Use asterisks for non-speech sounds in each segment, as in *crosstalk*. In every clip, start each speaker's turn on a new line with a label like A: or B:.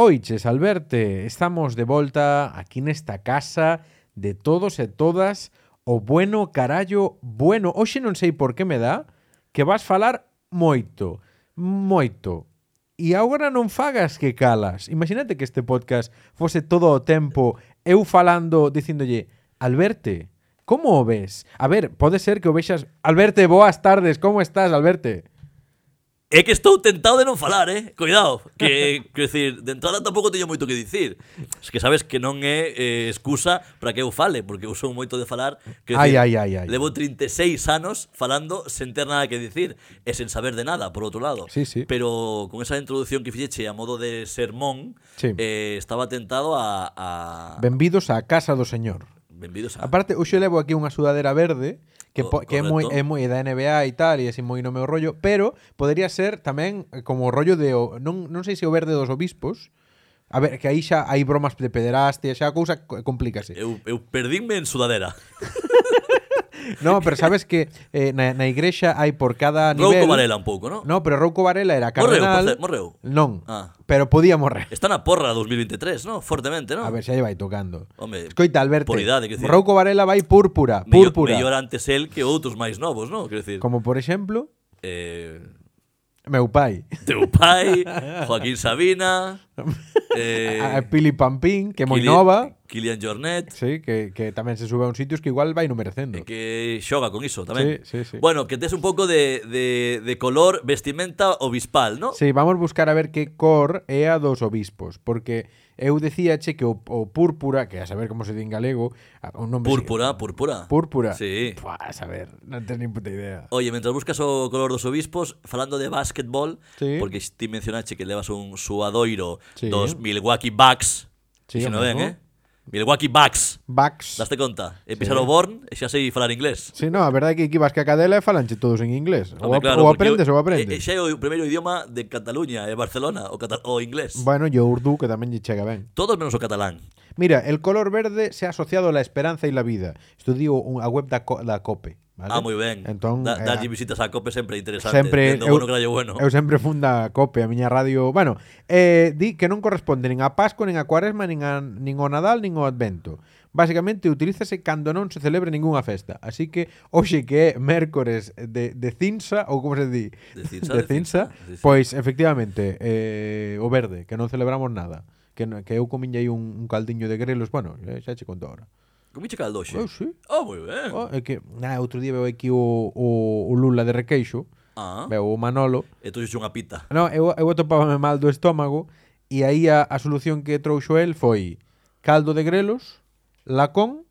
A: Oiches, Alberte, estamos de volta aquí nesta casa de todos e todas o bueno carallo bueno. Hoxe non sei por que me dá que vas falar moito, moito. E agora non fagas que calas. Imagínate que este podcast fose todo o tempo eu falando, dicíndolle Alberte, como o ves? A ver, pode ser que o vexas Alberte, boas tardes, como estás, Alberte?
B: É que estou tentado de non falar, eh? Cuidado, que, que decir, de entrada tampouco teño moito que dicir. Es que sabes que non é eh, excusa para que eu fale, porque eu son moito de falar. Que
A: Ai, ai, ai, ai.
B: Levo 36 anos falando sen ter nada que dicir e sen saber de nada, por outro lado.
A: Sí, sí.
B: Pero con esa introducción que fixeche a modo de sermón,
A: Sí.
B: eh, estaba tentado a... a...
A: Benvidos á casa do señor.
B: Benvidos a...
A: Aparte, hoxe levo aquí unha sudadera verde que, po-
B: Co-
A: que é moi
B: correcto.
A: é moi da NBA e tal, e así moi no meu rollo, pero podería ser tamén eh, como o rollo de o- non, non sei se o verde dos obispos. A ver, que aí xa hai bromas de pederastia, xa a cousa co- complícase.
B: Eu, eu perdinme en sudadera.
A: No, pero sabes que eh, na, na igrexa hai por cada nivel...
B: Rouco Varela un pouco, non?
A: No, pero Rouco Varela era
B: Morreu, por
A: cardenal.
B: ce- morreu.
A: Non,
B: Ah.
A: pero podía morrer.
B: Está na porra 2023, non? Fortemente, non?
A: A ver, xa lle vai tocando.
B: Home,
A: Escoita, Alberto.
B: por idade, que decir.
A: Rouco Varela vai púrpura,
B: Mello-
A: púrpura.
B: Mellor antes el que outros máis novos, non? Quero decir,
A: Como por exemplo,
B: eh,
A: meu pai.
B: teu pai, Joaquín
A: *laughs*
B: Sabina, eh,
A: a a Pili Pampín, que é Ah, moi
B: Kili-
A: nova,
B: Kilian Jornet,
A: sí, que, que tamén se sube a un sitios que igual vai no merecendo.
B: eh, que xoga con iso tamén.
A: Sí, sí, sí.
B: Bueno, que tes un pouco de, de, de color vestimenta obispal, non?
A: Sí, vamos buscar a ver que cor é a dos obispos, porque eu dicíache que o, o púrpura, que a saber como se di en galego, a- un nombre
B: Púrpura, púrpura.
A: sí, púrpura.
B: Sí.
A: Pua, a saber, non ten ni puta idea.
B: Oye, mentras buscas o color dos obispos, falando de básquetbol,
A: Sí.
B: porque ti mencionaste que levas un suadoiro
A: Sí.
B: dos Milwaukee Bucks.
A: Sí,
B: se non
A: hombre,
B: ven,
A: ¿no?
B: eh? Milwaukee Bucks.
A: Bucks.
B: Daste conta? E pisar o Born e xa sei falar inglés.
A: Sí, no, a verdade é que aquí vas que a cadela e falanche todos en inglés. Ou,
B: Home,
A: ap- ou
B: porque
A: aprendes
B: o-
A: ou
B: E, e
A: aprendes.
B: xa é o primeiro idioma de Cataluña, e Barcelona, o, catal o inglés.
A: Bueno, e o urdu que tamén lle chega ben.
B: Todos menos o catalán.
A: Mira, el color verde se ha asociado a la esperanza y la vida. Estudio a web da, co- da COPE. ¿vale?
B: Ah, moi ben.
A: Entón,
B: da,
A: eh,
B: darlle visitas a COPE sempre é interesante.
A: sempre
B: Dendo bueno, carallo bueno.
A: eu sempre funda a COPE, a miña radio. Bueno, eh, di que non corresponde nin a Pascua, nin a Cuaresma, nin, a, nin o Nadal, nin o Advento. Basicamente utilízase cando non se celebre ningunha festa. Así que hoxe que é mércores de, de cinza, ou como se di?
B: De cinza,
A: de
B: de cinza,
A: cinza, Pues- pois
B: sí, sí.
A: efectivamente eh, o verde, que non celebramos nada. Que, no- que eu comiñe aí un, un caldiño de grelos, bueno, eh, xa che conto ahora.
B: Comiche caldo xe.
A: Eu sí.
B: Oh, moi ben.
A: Pues- Oh, é que, ah, outro día veo aquí o, o, o Lula de Requeixo,
B: Ah.
A: veo o Manolo.
B: E tú xe unha pita.
A: No, eu, eu atopábame mal do estómago e aí a, a solución que trouxo el foi caldo de grelos, lacón,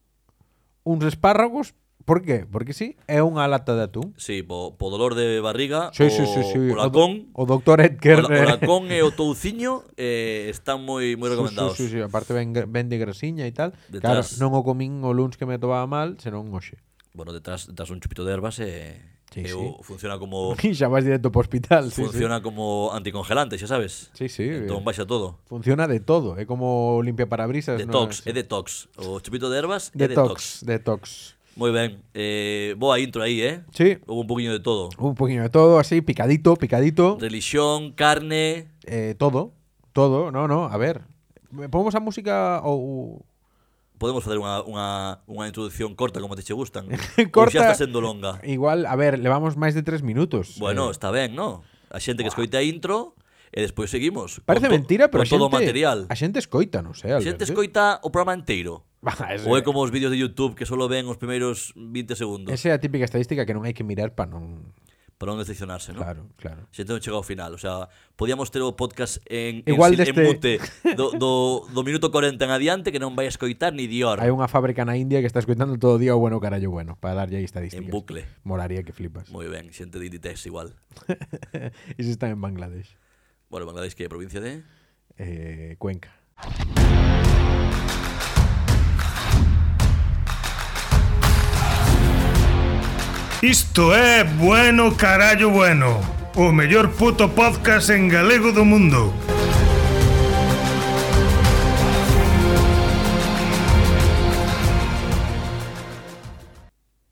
A: uns espárragos, por qué? Porque sí, é unha lata de atún.
B: Sí, po, po dolor de barriga,
A: Sí,
B: Ah, o,
A: sí, sí, sí.
B: o lacón,
A: o, do- o doctor eh,
B: o,
A: Edgar.
B: la- o lacón e o touciño eh, están moi moi recomendados.
A: Sí, sí, sí, aparte ven, ven de grasiña e tal. Claro,
B: Detrás.
A: non o comín o luns que me atopaba mal, senón hoxe.
B: Bueno, detrás, detrás un chupito de herbas e,
A: Sí,
B: e
A: sí.
B: o- funciona
A: E
B: como
A: *laughs* xa vas directo para o hospital. sí, sí.
B: Oh. funciona como anticongelante, xa sabes.
A: Sí, sí.
B: Entón baixa todo.
A: Funciona de todo, é como limpia parabrisas.
B: Detox, é detox. O chupito de ervas é
A: Detox,
B: detox.
A: detox.
B: Moi ben. Eh, boa intro aí, eh?
A: Sí,
B: Houve un poquinho de todo.
A: un poquinho de todo, así, picadito, picadito,
B: Relixión, carne...
A: eh, todo, todo, no, no, a ver. Pomos a música ou...
B: Podemos facer unha, unha, unha introducción corta como te che
A: *laughs*
B: gustan. Ou
A: Corta.
B: xa está sendo longa.
A: Igual, a ver, levamos máis de tres minutos.
B: Bueno,
A: eh,
B: está ben, no? A xente que escoita a intro e despois seguimos.
A: parece
B: con to-
A: mentira, pero
B: con todo o
A: xente-
B: material.
A: A xente escoita, non sei,
B: A
A: Alberto.
B: xente
A: *laughs*
B: escoita o programa inteiro.
A: Bah, ese,
B: Ou é como os vídeos de YouTube que só ven os primeiros 20 segundos.
A: Esa é a típica estadística que non hai que mirar para non...
B: Para non decepcionarse, non?
A: Claro, claro.
B: Xente non chega ao final, o sea, podíamos ter o podcast en,
A: Igual
B: en, sil-
A: deste-
B: en mute
A: *laughs*
B: do, do, do minuto 40 en adiante que non vai escoitar ni Dior
A: Hai unha fábrica na India que está escoitando todo o día o bueno carallo bueno para darlle aí
B: en
A: estadísticas.
B: bucle.
A: Molaría que *laughs* flipas.
B: Moi ben, xente de Inditex igual.
A: E se está en Bangladesh.
B: Bueno, Bangladesh que é provincia de...
A: Eh, Cuenca.
C: Isto é Bueno Carallo Bueno O mellor puto podcast en galego do mundo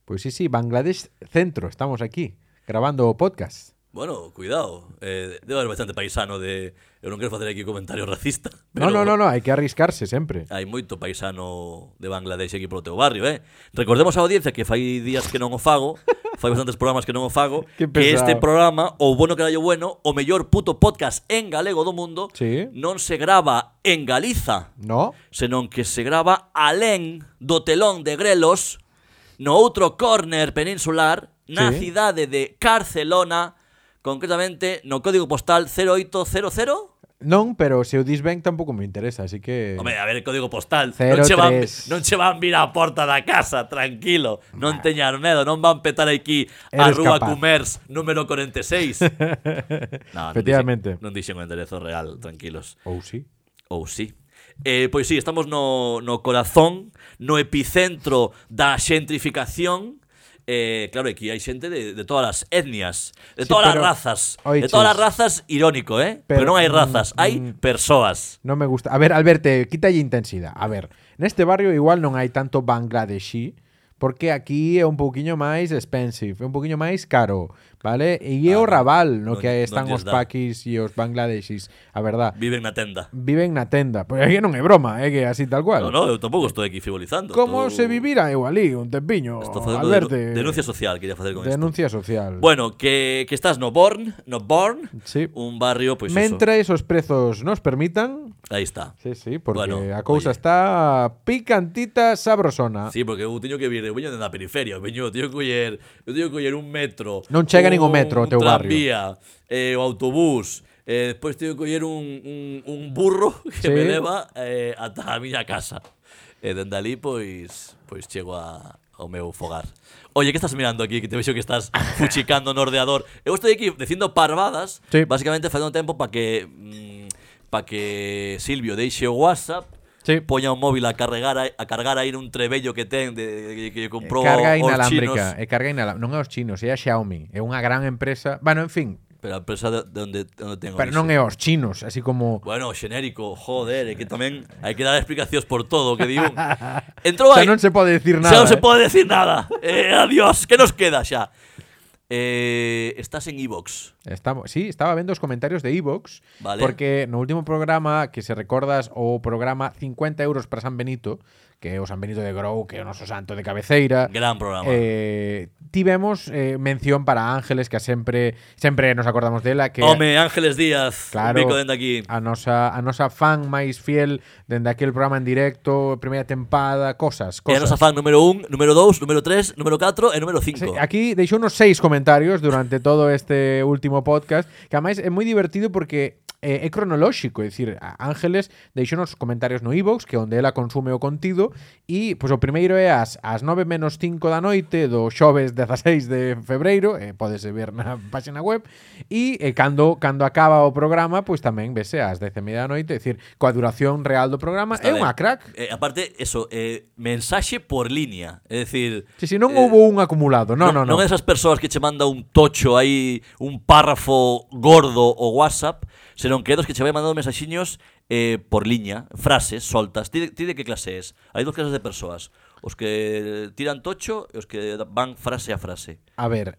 A: Pues Pois sí, sí, Bangladesh Centro, estamos aquí grabando o podcast.
B: Bueno, cuidado. Eh, debe haber bastante paisano de... Eu non quero facer aquí comentario racista.
A: No,
B: pero Ah.
A: no, no, no, hai que arriscarse sempre.
B: Hai moito paisano de Bangladesh aquí polo teu barrio, eh? Recordemos a audiencia que fai días que non o fago, *laughs* fai bastantes programas que non o fago,
A: Que
B: que este
A: pesado.
B: programa, o bueno que dallo bueno, o mellor puto podcast en galego do mundo,
A: Sí.
B: non se grava en Galiza,
A: No?
B: senón que se grava alén do telón de grelos no outro córner peninsular na
A: Sí.
B: cidade de Barcelona, concretamente no código postal 0800
A: Non, pero se o dis ben tampouco me interesa, así que...
B: Home, a ver, código postal.
A: Cero
B: non, che van,
A: tres.
B: non che van vir á porta da casa, tranquilo. Non teñas medo, non van petar aquí a
A: Eres
B: Rúa
A: capaz.
B: Cumers número
A: *laughs*
B: 46. no,
A: Efectivamente.
B: Non dixen, non dixen o enderezo real, tranquilos.
A: Ou Oh, sí.
B: Ou sí. Eh, pois sí, estamos no, no corazón, no epicentro da xentrificación. Eh, claro, aquí hai xente de, de todas as etnias, de
A: Sí,
B: todas as
A: pero-
B: razas.
A: oiches.
B: De todas as razas, irónico, eh? Pero,
A: Pero-
B: non hai razas, hai persoas.
A: Non me gusta. A ver, Alberto, quítalle intensidade. A ver, neste barrio igual non hai tanto bangladesí, porque aquí é un pouquiño máis expensive, é un pouquiño máis caro, vale? E é o
B: Ah,
A: Raval no
B: non-
A: que están
B: non
A: os
B: lles dá.
A: paquis e os bangladesís, a verdad.
B: Viven na tenda.
A: Viven na tenda, pois é que non é broma, é que así tal
B: No,
A: cual.
B: no, eu tampouco estou aquí frivolizando.
A: Como
B: estou-
A: se eh, vivira eu ali, un tempiño,
B: Estou facendo
A: Alberto?
B: denu- denuncia social, quería facer con isto.
A: Denuncia social.
B: Bueno, que, que estás no Born, no Born,
A: Sí.
B: un barrio, pois
A: Mentre esos prezos nos permitan,
B: eso. Aí está.
A: Sí, sí, porque
B: Bueno,
A: a cousa
B: oye.
A: está picantita, sabrosona.
B: Sí, porque eu teño que vir, eu veño da periferia, eu veño, eu teño que coller, eu teño que coller un metro.
A: Non chega nin o
B: un-
A: metro ao teu
B: un
A: barrio.
B: tranvía, eh, o autobús, eh, despois teño que coller un, un, un burro *laughs* que
A: Sí.
B: me leva eh, ata a miña casa. E dende ali, pois, pois chego a, ao meu fogar. Oye, que estás mirando aquí? Que te vexo
A: *laughs*
B: que estás fuchicando no ordeador. Eu estou aquí dicindo parvadas,
A: Sí.
B: basicamente facendo tempo para que... Mm, para que Silvio deixe o WhatsApp
A: Sí.
B: poña o móvil a carregar a, a cargar aí un trebello que ten de, de-
A: É
B: que lle comprou
A: carga
B: os
A: inalámbrica,
B: chinos.
A: é carga inalámbrica, non é os chinos, é a Xiaomi, é unha gran empresa. Bueno, en fin,
B: Pero a empresa de, de onde, de onde ten
A: pero non é os chinos, así como
B: Bueno, xenérico, joder, é que tamén hai que dar explicacións por todo o que
A: *laughs*
B: di un. Entrou
A: xa
B: aí.
A: non se pode decir nada.
B: Xa non
A: eh.
B: se pode decir nada. Eh, adiós, que nos queda xa? Eh, estás en iVox.
A: Estamos, sí, estaba vendo os comentarios de Evox
B: Vale.
A: Porque no último programa que se recordas O programa 50 euros para San Benito Que é o San Benito de Grou Que é o noso santo de cabeceira
B: Gran programa.
A: eh, Tivemos eh, mención para Ángeles Que sempre sempre nos acordamos dela que
B: Home, Ángeles Díaz,
A: Claro. Ah,
B: un bico dende aquí.
A: a nosa a nosa fan máis fiel dende aquel programa en directo, primeira tempada, cosas,
B: É
A: cosas.
B: E a nosa fan número 1, número 2, número 3, número 4 e número 5.
A: Sí, aquí deixou unos seis comentarios durante todo este último podcast, que ademais é moi divertido porque eh, é cronolóxico, é dicir, a- Ángeles deixou nos comentarios no iVoox, que é onde ela consume o contido, e pois o primeiro é ás, ás 9 menos 5 da noite do xoves 16 de febreiro, eh, podese ver na *laughs* página web, e eh, cando cando acaba o programa, pois tamén vese ás 10:30 da noite, é dicir, coa duración real do programa, é
B: Está ben.
A: unha crack.
B: Eh, aparte, eso, eh, mensaxe por línea. É dicir...
A: Si, si non
B: eh,
A: houbo un acumulado, non, non, non.
B: Non é esas persoas que che manda un tocho aí, un párrafo gordo o WhatsApp, senón que é dos que che vai mandando mensaxiños eh, por liña, frases soltas. Ti, de- ti de que clase es? Hai dos clases de persoas. Os que tiran tocho e os que van frase a frase.
A: A ver,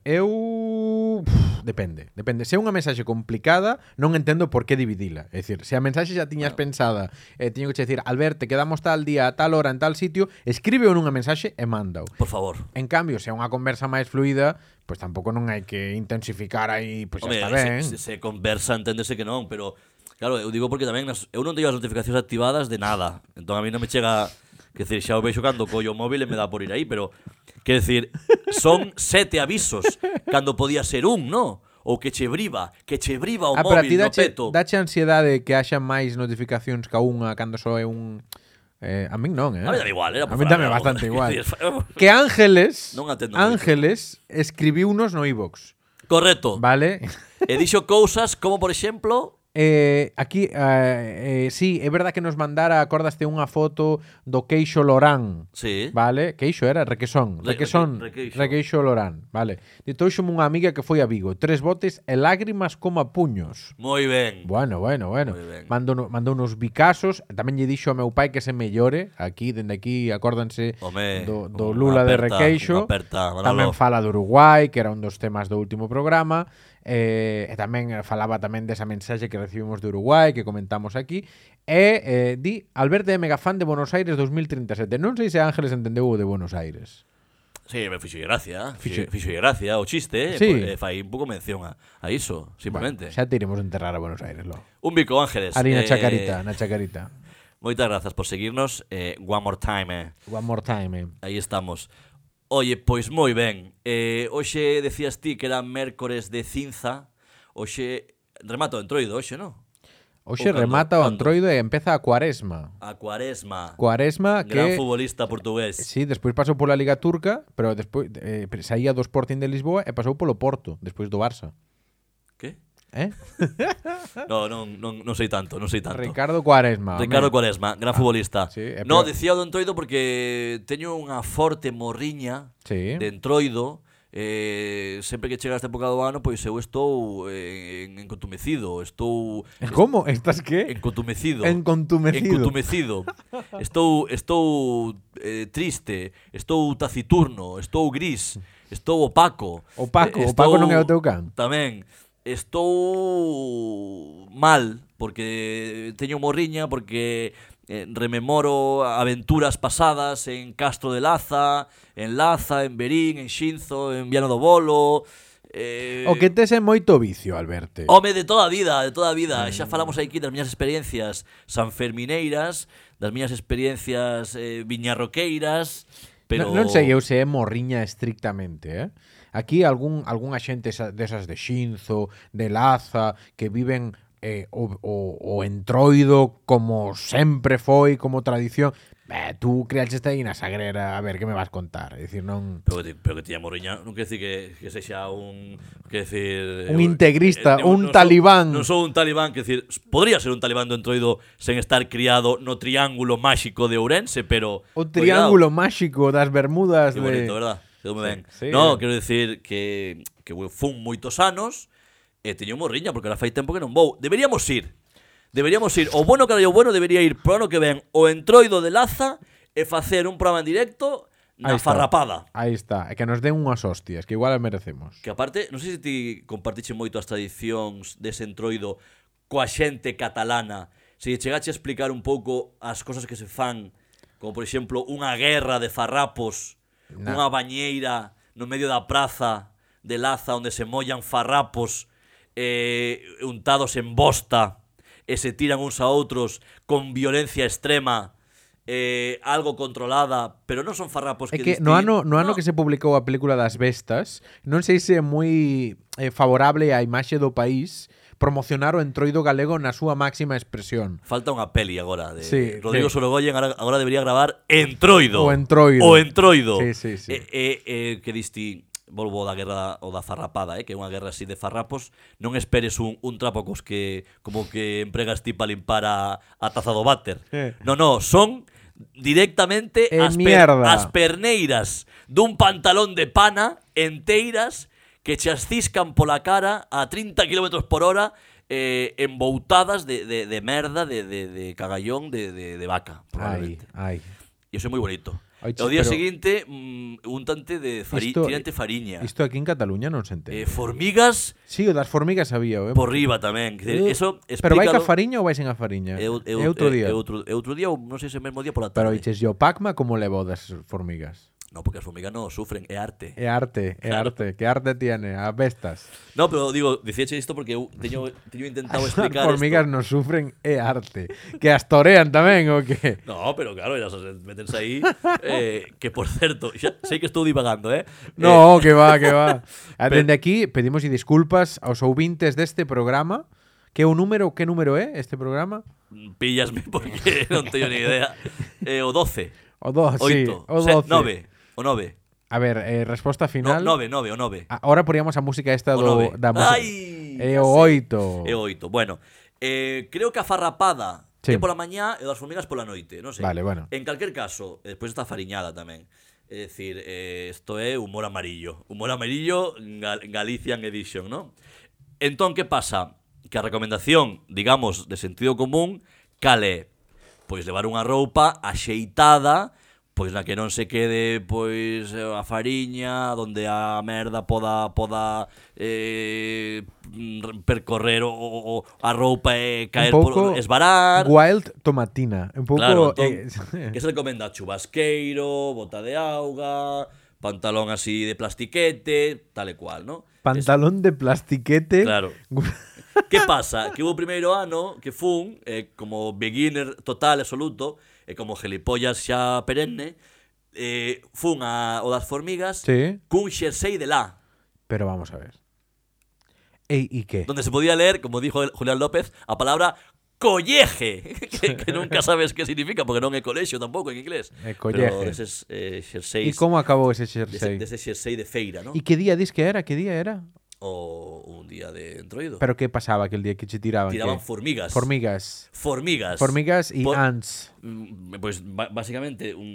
A: eu Uf, depende, depende. Se é unha mensaxe complicada, non entendo por que dividila. É dicir, se a mensaxe xa tiñas pensada, eh, tiño que che dicir, Alberto, quedamos tal día, a tal hora, en tal sitio, escribe nunha mensaxe e mandao.
B: Por favor.
A: En cambio, se é unha conversa máis fluida, pois tampouco non hai que intensificar aí, pois
B: Home,
A: xa pues está
B: se-
A: ben.
B: Se, se conversa, enténdese que non, pero claro, eu digo porque tamén nas, eu non teño as notificacións activadas de nada. Entón a mí non me chega, que decir, xa o vexo cando collo o móvil e me dá por ir aí, pero que decir, son sete avisos cando podía ser un, no? Ou que che briba, que che briba o
A: Ah, pero a
B: móvil
A: ti
B: no
A: dache,
B: peto.
A: dache ansiedade que haxa máis notificacións ca unha cando só é un... Eh, a min non, eh?
B: A mí dame igual, era
A: A
B: por
A: min
B: falar
A: dame
B: de algo. *laughs*
A: bastante igual.
B: Quer decir,
A: que Ángeles,
B: *laughs* Non atendo moito.
A: Ángeles escribiunos no iVox.
B: Correcto.
A: Vale. *laughs*
B: E dixo cousas como, por exemplo,
A: Eh, aquí, eh, eh, sí, é verdad que nos mandara, acordaste, unha foto do Queixo Lorán.
B: sí,
A: Vale, Queixo era Requesón,
B: Re-
A: Requesón,
B: Reque- Requeixo.
A: Requeixo Lorán, vale. Ditouxome unha amiga que foi a Vigo, tres botes e lágrimas como a puños.
B: moi ben.
A: Bueno, bueno, bueno.
B: Moi ben.
A: Mandou, no- mandou unos bicasos, tamén lle dixo ao meu pai que se mellore, aquí, dende aquí, acórdanse
B: Home,
A: do, do
B: unha
A: Lula de
B: aperta,
A: Requeixo.
B: unha aperta, Manolo.
A: tamén fala do Uruguai, que era un dos temas do último programa. eh, e tamén eh, falaba tamén desa mensaxe que recibimos de Uruguai, que comentamos aquí, e eh, di Alberto é megafan de Buenos Aires 2037. Non sei se Ángeles entendeu o de Buenos Aires.
B: Sí, me fixo de gracia.
A: Fixe-
B: Fixo, fixo de gracia o chiste.
A: Sí.
B: Sí. Eh, fai un pouco mención a, a iso, simplemente.
A: Bueno, xa te iremos enterrar a Buenos Aires, logo.
B: Un bico, Ángeles.
A: Ali na
B: Eh,
A: chacarita, na chacarita.
B: Moitas grazas por seguirnos. Eh, one more time, eh.
A: One more time, eh.
B: Aí estamos. Oye, pois moi ben. Eh, hoxe decías ti que era mércores de cinza. Hoxe remato o entroido, hoxe, non?
A: Oxe
B: Ou cando-
A: remata o
B: cando.
A: antroido e empeza a cuaresma.
B: A Cuaresma.
A: Cuaresma que...
B: Gran futbolista portugués.
A: Sí, despois pasou pola Liga Turca, pero despois eh, saía do Sporting de Lisboa e pasou polo Porto, despois do Barça.
B: Que?
A: Eh?
B: No, non, non, non sei tanto, non sei tanto.
A: Ricardo Cuaresma.
B: Ricardo
A: home.
B: Cuaresma, gran
A: Ah,
B: futbolista.
A: sí, é
B: no,
A: peor.
B: decía o do Entroido porque teño unha forte morriña
A: Sí.
B: de Entroido. Eh, sempre que chega esta época do ano, pois eu estou eh, en- encontumecido, estou
A: *laughs* Como? Estás que?
B: encontumecido.
A: Encontumecido.
B: Encontumecido. Estou estou eh, triste, estou taciturno, estou gris, estou opaco.
A: Opaco,
B: eh,
A: opaco non é o teu can.
B: Tamén estou mal porque teño morriña porque eh, rememoro aventuras pasadas en Castro de Laza, en Laza, en Berín, en Xinzo, en Viano do Bolo. Eh,
A: O que tes é moito vicio, Alberto.
B: Home, de toda a vida, de toda a
A: Mm.
B: vida. Xa falamos aquí das miñas experiencias sanfermineiras, das miñas experiencias eh, viñarroqueiras, pero...
A: Non, non sei eu se é morriña estrictamente, eh? Aquí algún algún axente esa- desas de Xinzo, de Laza, que viven eh, o, o, o entroido como sempre foi, como tradición. Eh, tú creaxeste aí na sagrera, a ver, que me vas contar? É dicir, non...
B: Pero que, ti- pero que tiña morriña, non quer dicir que, que sexa un... Que decir, eh,
A: Un integrista, un talibán.
B: Non sou un talibán, que decir, podría ser un talibán do entroido sen estar criado no triángulo máxico de Ourense, pero...
A: O
B: cuidado.
A: triángulo máxico das Bermudas
B: Qué
A: de...
B: bonito, ¿verdad? Quedou moi ben.
A: Sí.
B: No, quero dicir que, que eu fun moitos anos e eh, teño morriña porque ahora fai tempo que non vou. Deberíamos ir. Deberíamos ir. O bueno carallo bueno debería ir pro ano que ven o entroido de Laza e facer un programa en directo
A: Ahí
B: na
A: está.
B: farrapada.
A: Aí está, e que nos den unhas hostias, que igual as merecemos.
B: Que aparte, non sei se ti compartiche moito as tradicións dese entroido coa xente catalana. Se lle chegache a explicar un pouco as cosas que se fan, como por exemplo unha guerra de farrapos,
A: Na.
B: unha bañeira no medio da praza de Laza onde se mollan farrapos eh, untados en bosta e se tiran uns a outros con violencia extrema, eh, algo controlada, pero non son farrapos
A: É que
B: que,
A: no
B: distin-
A: ano, no ano
B: No.
A: que se publicou a película das bestas, non sei se é moi eh, favorable á imaxe do país promocionar o entroido galego na súa máxima expresión.
B: Falta unha peli agora de
A: Sí,
B: Rodrigo
A: sí.
B: Sorogoyen agora, agora debería gravar Entroido.
A: O Entroido.
B: O Entroido.
A: Sí, sí, sí.
B: E, e, e, que disti volvo da guerra o da farrapada, eh, que é unha guerra así de farrapos, non esperes un, un trapo cos que como que empregas ti para limpar a, a taza do váter.
A: Eh.
B: No, no, son directamente
A: Eh,
B: as,
A: mierda.
B: as perneiras dun pantalón de pana enteiras que che as ciscan pola cara a 30 km por hora eh, emboutadas de, de, de merda, de, de, de cagallón, de, de, de vaca,
A: Ai,
B: probablemente.
A: ai.
B: E iso é moi bonito.
A: Ai,
B: E o día
A: pero-
B: seguinte, mm, un tante de fari,
A: Isto-
B: tirante fariña.
A: Isto aquí en Cataluña non se
B: Eh,
A: entende.
B: formigas
A: Si, sí, o das formigas había, eh.
B: por riba tamén. Quer
A: Eh,
B: dizer, Eso
A: Pero vai ca
B: explícalo. eh,
A: fariña ou vai sen a fariña?
B: É o- é o-
A: É outro
B: é-
A: día.
B: É outro, é outro día ou non sei se é o mesmo día pola
A: Pero
B: tarde.
A: iches yo Pacma como levo das formigas.
B: No, porque as formigas non sufren, é arte.
A: É arte, é
B: Claro.
A: arte, que arte tiene, a bestas.
B: No, pero digo, dicíache isto porque eu teño, teño
A: *laughs*
B: intentado
A: As
B: explicar
A: formigas
B: isto.
A: non sufren, é arte. Que as torean tamén o que?
B: No, pero claro, elas as metense aí eh, Que por certo, xa, sei que estou divagando, eh
A: No, que va, que va. *laughs* A Dende aquí pedimos disculpas aos ouvintes deste programa. Que o número, que número é este programa?
B: eh, Píllasme porque *laughs* non teño ni idea eh, O 12,
A: O 2, sí.
B: oito,
A: O
B: se-
A: 12.
B: nove, o 9
A: A ver, eh, resposta
B: no,
A: final.
B: 9, 9, o 9
A: Ahora poríamos a música esta
B: O
A: do,
B: nove.
A: da música.
B: Ai,
A: é
B: ya
A: o
B: sei.
A: 8.
B: E o 8, bueno eh, Creo que a farrapada
A: Sí.
B: é pola mañá e das formigas pola noite non sei.
A: Vale, bueno.
B: En calquer caso, e despois está fariñada tamén É dicir, eh, isto é humor amarillo Humor amarillo Gal- Galician Edition, non? Entón, que pasa? Que a recomendación, digamos, de sentido común Cale Pois levar unha roupa axeitada pois na que non se quede pois eh, a fariña onde a merda poda poda eh, mm, percorrer o, o, o- a roupa e caer
A: pouco
B: por esbarar
A: Wild tomatina. Un pouco...
B: Claro, entón,
A: eh, *laughs*
B: que se recomenda chubasqueiro, bota de auga, pantalón así de plastiquete, tal e cual, ¿no?
A: pantalón de plastiquete.
B: Claro. Que pasa? Que hubo primeiro ano que fun eh, como beginner total absoluto e como gelipollas xa perenne eh, fun a, o das formigas
A: *laughs* Sí.
B: cun xersei de lá
A: Pero vamos a ver. Ey, ¿Y qué?
B: donde se podía ler, como dijo el- Julián López, a palabra colleje, *laughs* que, que nunca sabes que significa porque non é colexio tampouco en inglés.
A: É colleje.
B: Pero deses eh, xerseis
A: ¿Y cómo acabó E ese
B: Dese,
A: jersey?
B: dese xersei de feira, non?
A: ¿Y qué día dis que era? ¿Qué día era?
B: O un día de entroido.
A: ¿Pero qué pasaba aquel día que se tiraban?
B: Tiraban
A: ¿Qué?
B: formigas.
A: Formigas.
B: Formigas.
A: Formigas y
B: Por-
A: ants.
B: Mm, Pois ba- basicamente un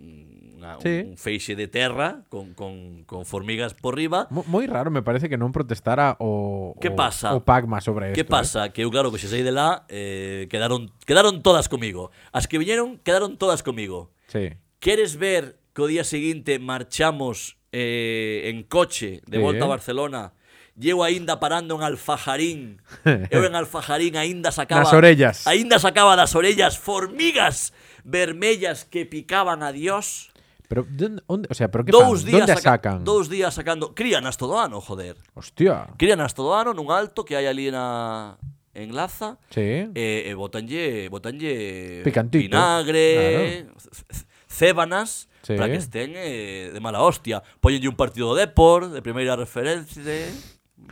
B: unha-
A: Sí.
B: un feixe de terra con, con, con formigas por riba.
A: Mo- Muy raro me parece que no protestara o,
B: ¿Qué
A: o-
B: pasa?
A: o Pacma sobre esto.
B: Que
A: ¿eh?
B: pasa? Que eu claro que xersei de lá eh, quedaron quedaron todas comigo. As que viñeron quedaron todas comigo.
A: Sí.
B: Queres ver que o día seguinte marchamos eh, en coche
A: Sí,
B: de
A: eh.
B: volta a Barcelona? Llevo aínda parando en Alfajarín.
A: *laughs*
B: Eu en Alfajarín aínda sacaba...
A: Nas orellas.
B: Aínda sacaba das orellas formigas vermellas que picaban a Dios.
A: Pero, ¿dónde- dónde- o sea, ¿pero qué
B: Dous
A: fan?
B: días
A: ¿Dónde a
B: saca-
A: sacan?
B: Dous días sacando... Críanas todo ano, joder.
A: Hostia.
B: Críanas todo ano nun alto que hai ali na... En Laza.
A: Sí.
B: E, e botanlle, botanlle
A: Picantito, eh.
B: vinagre, c- c- cébanas,
A: Sí.
B: para que estén eh, de mala hostia. Póñenlle un partido de Depor, de primeira referencia, de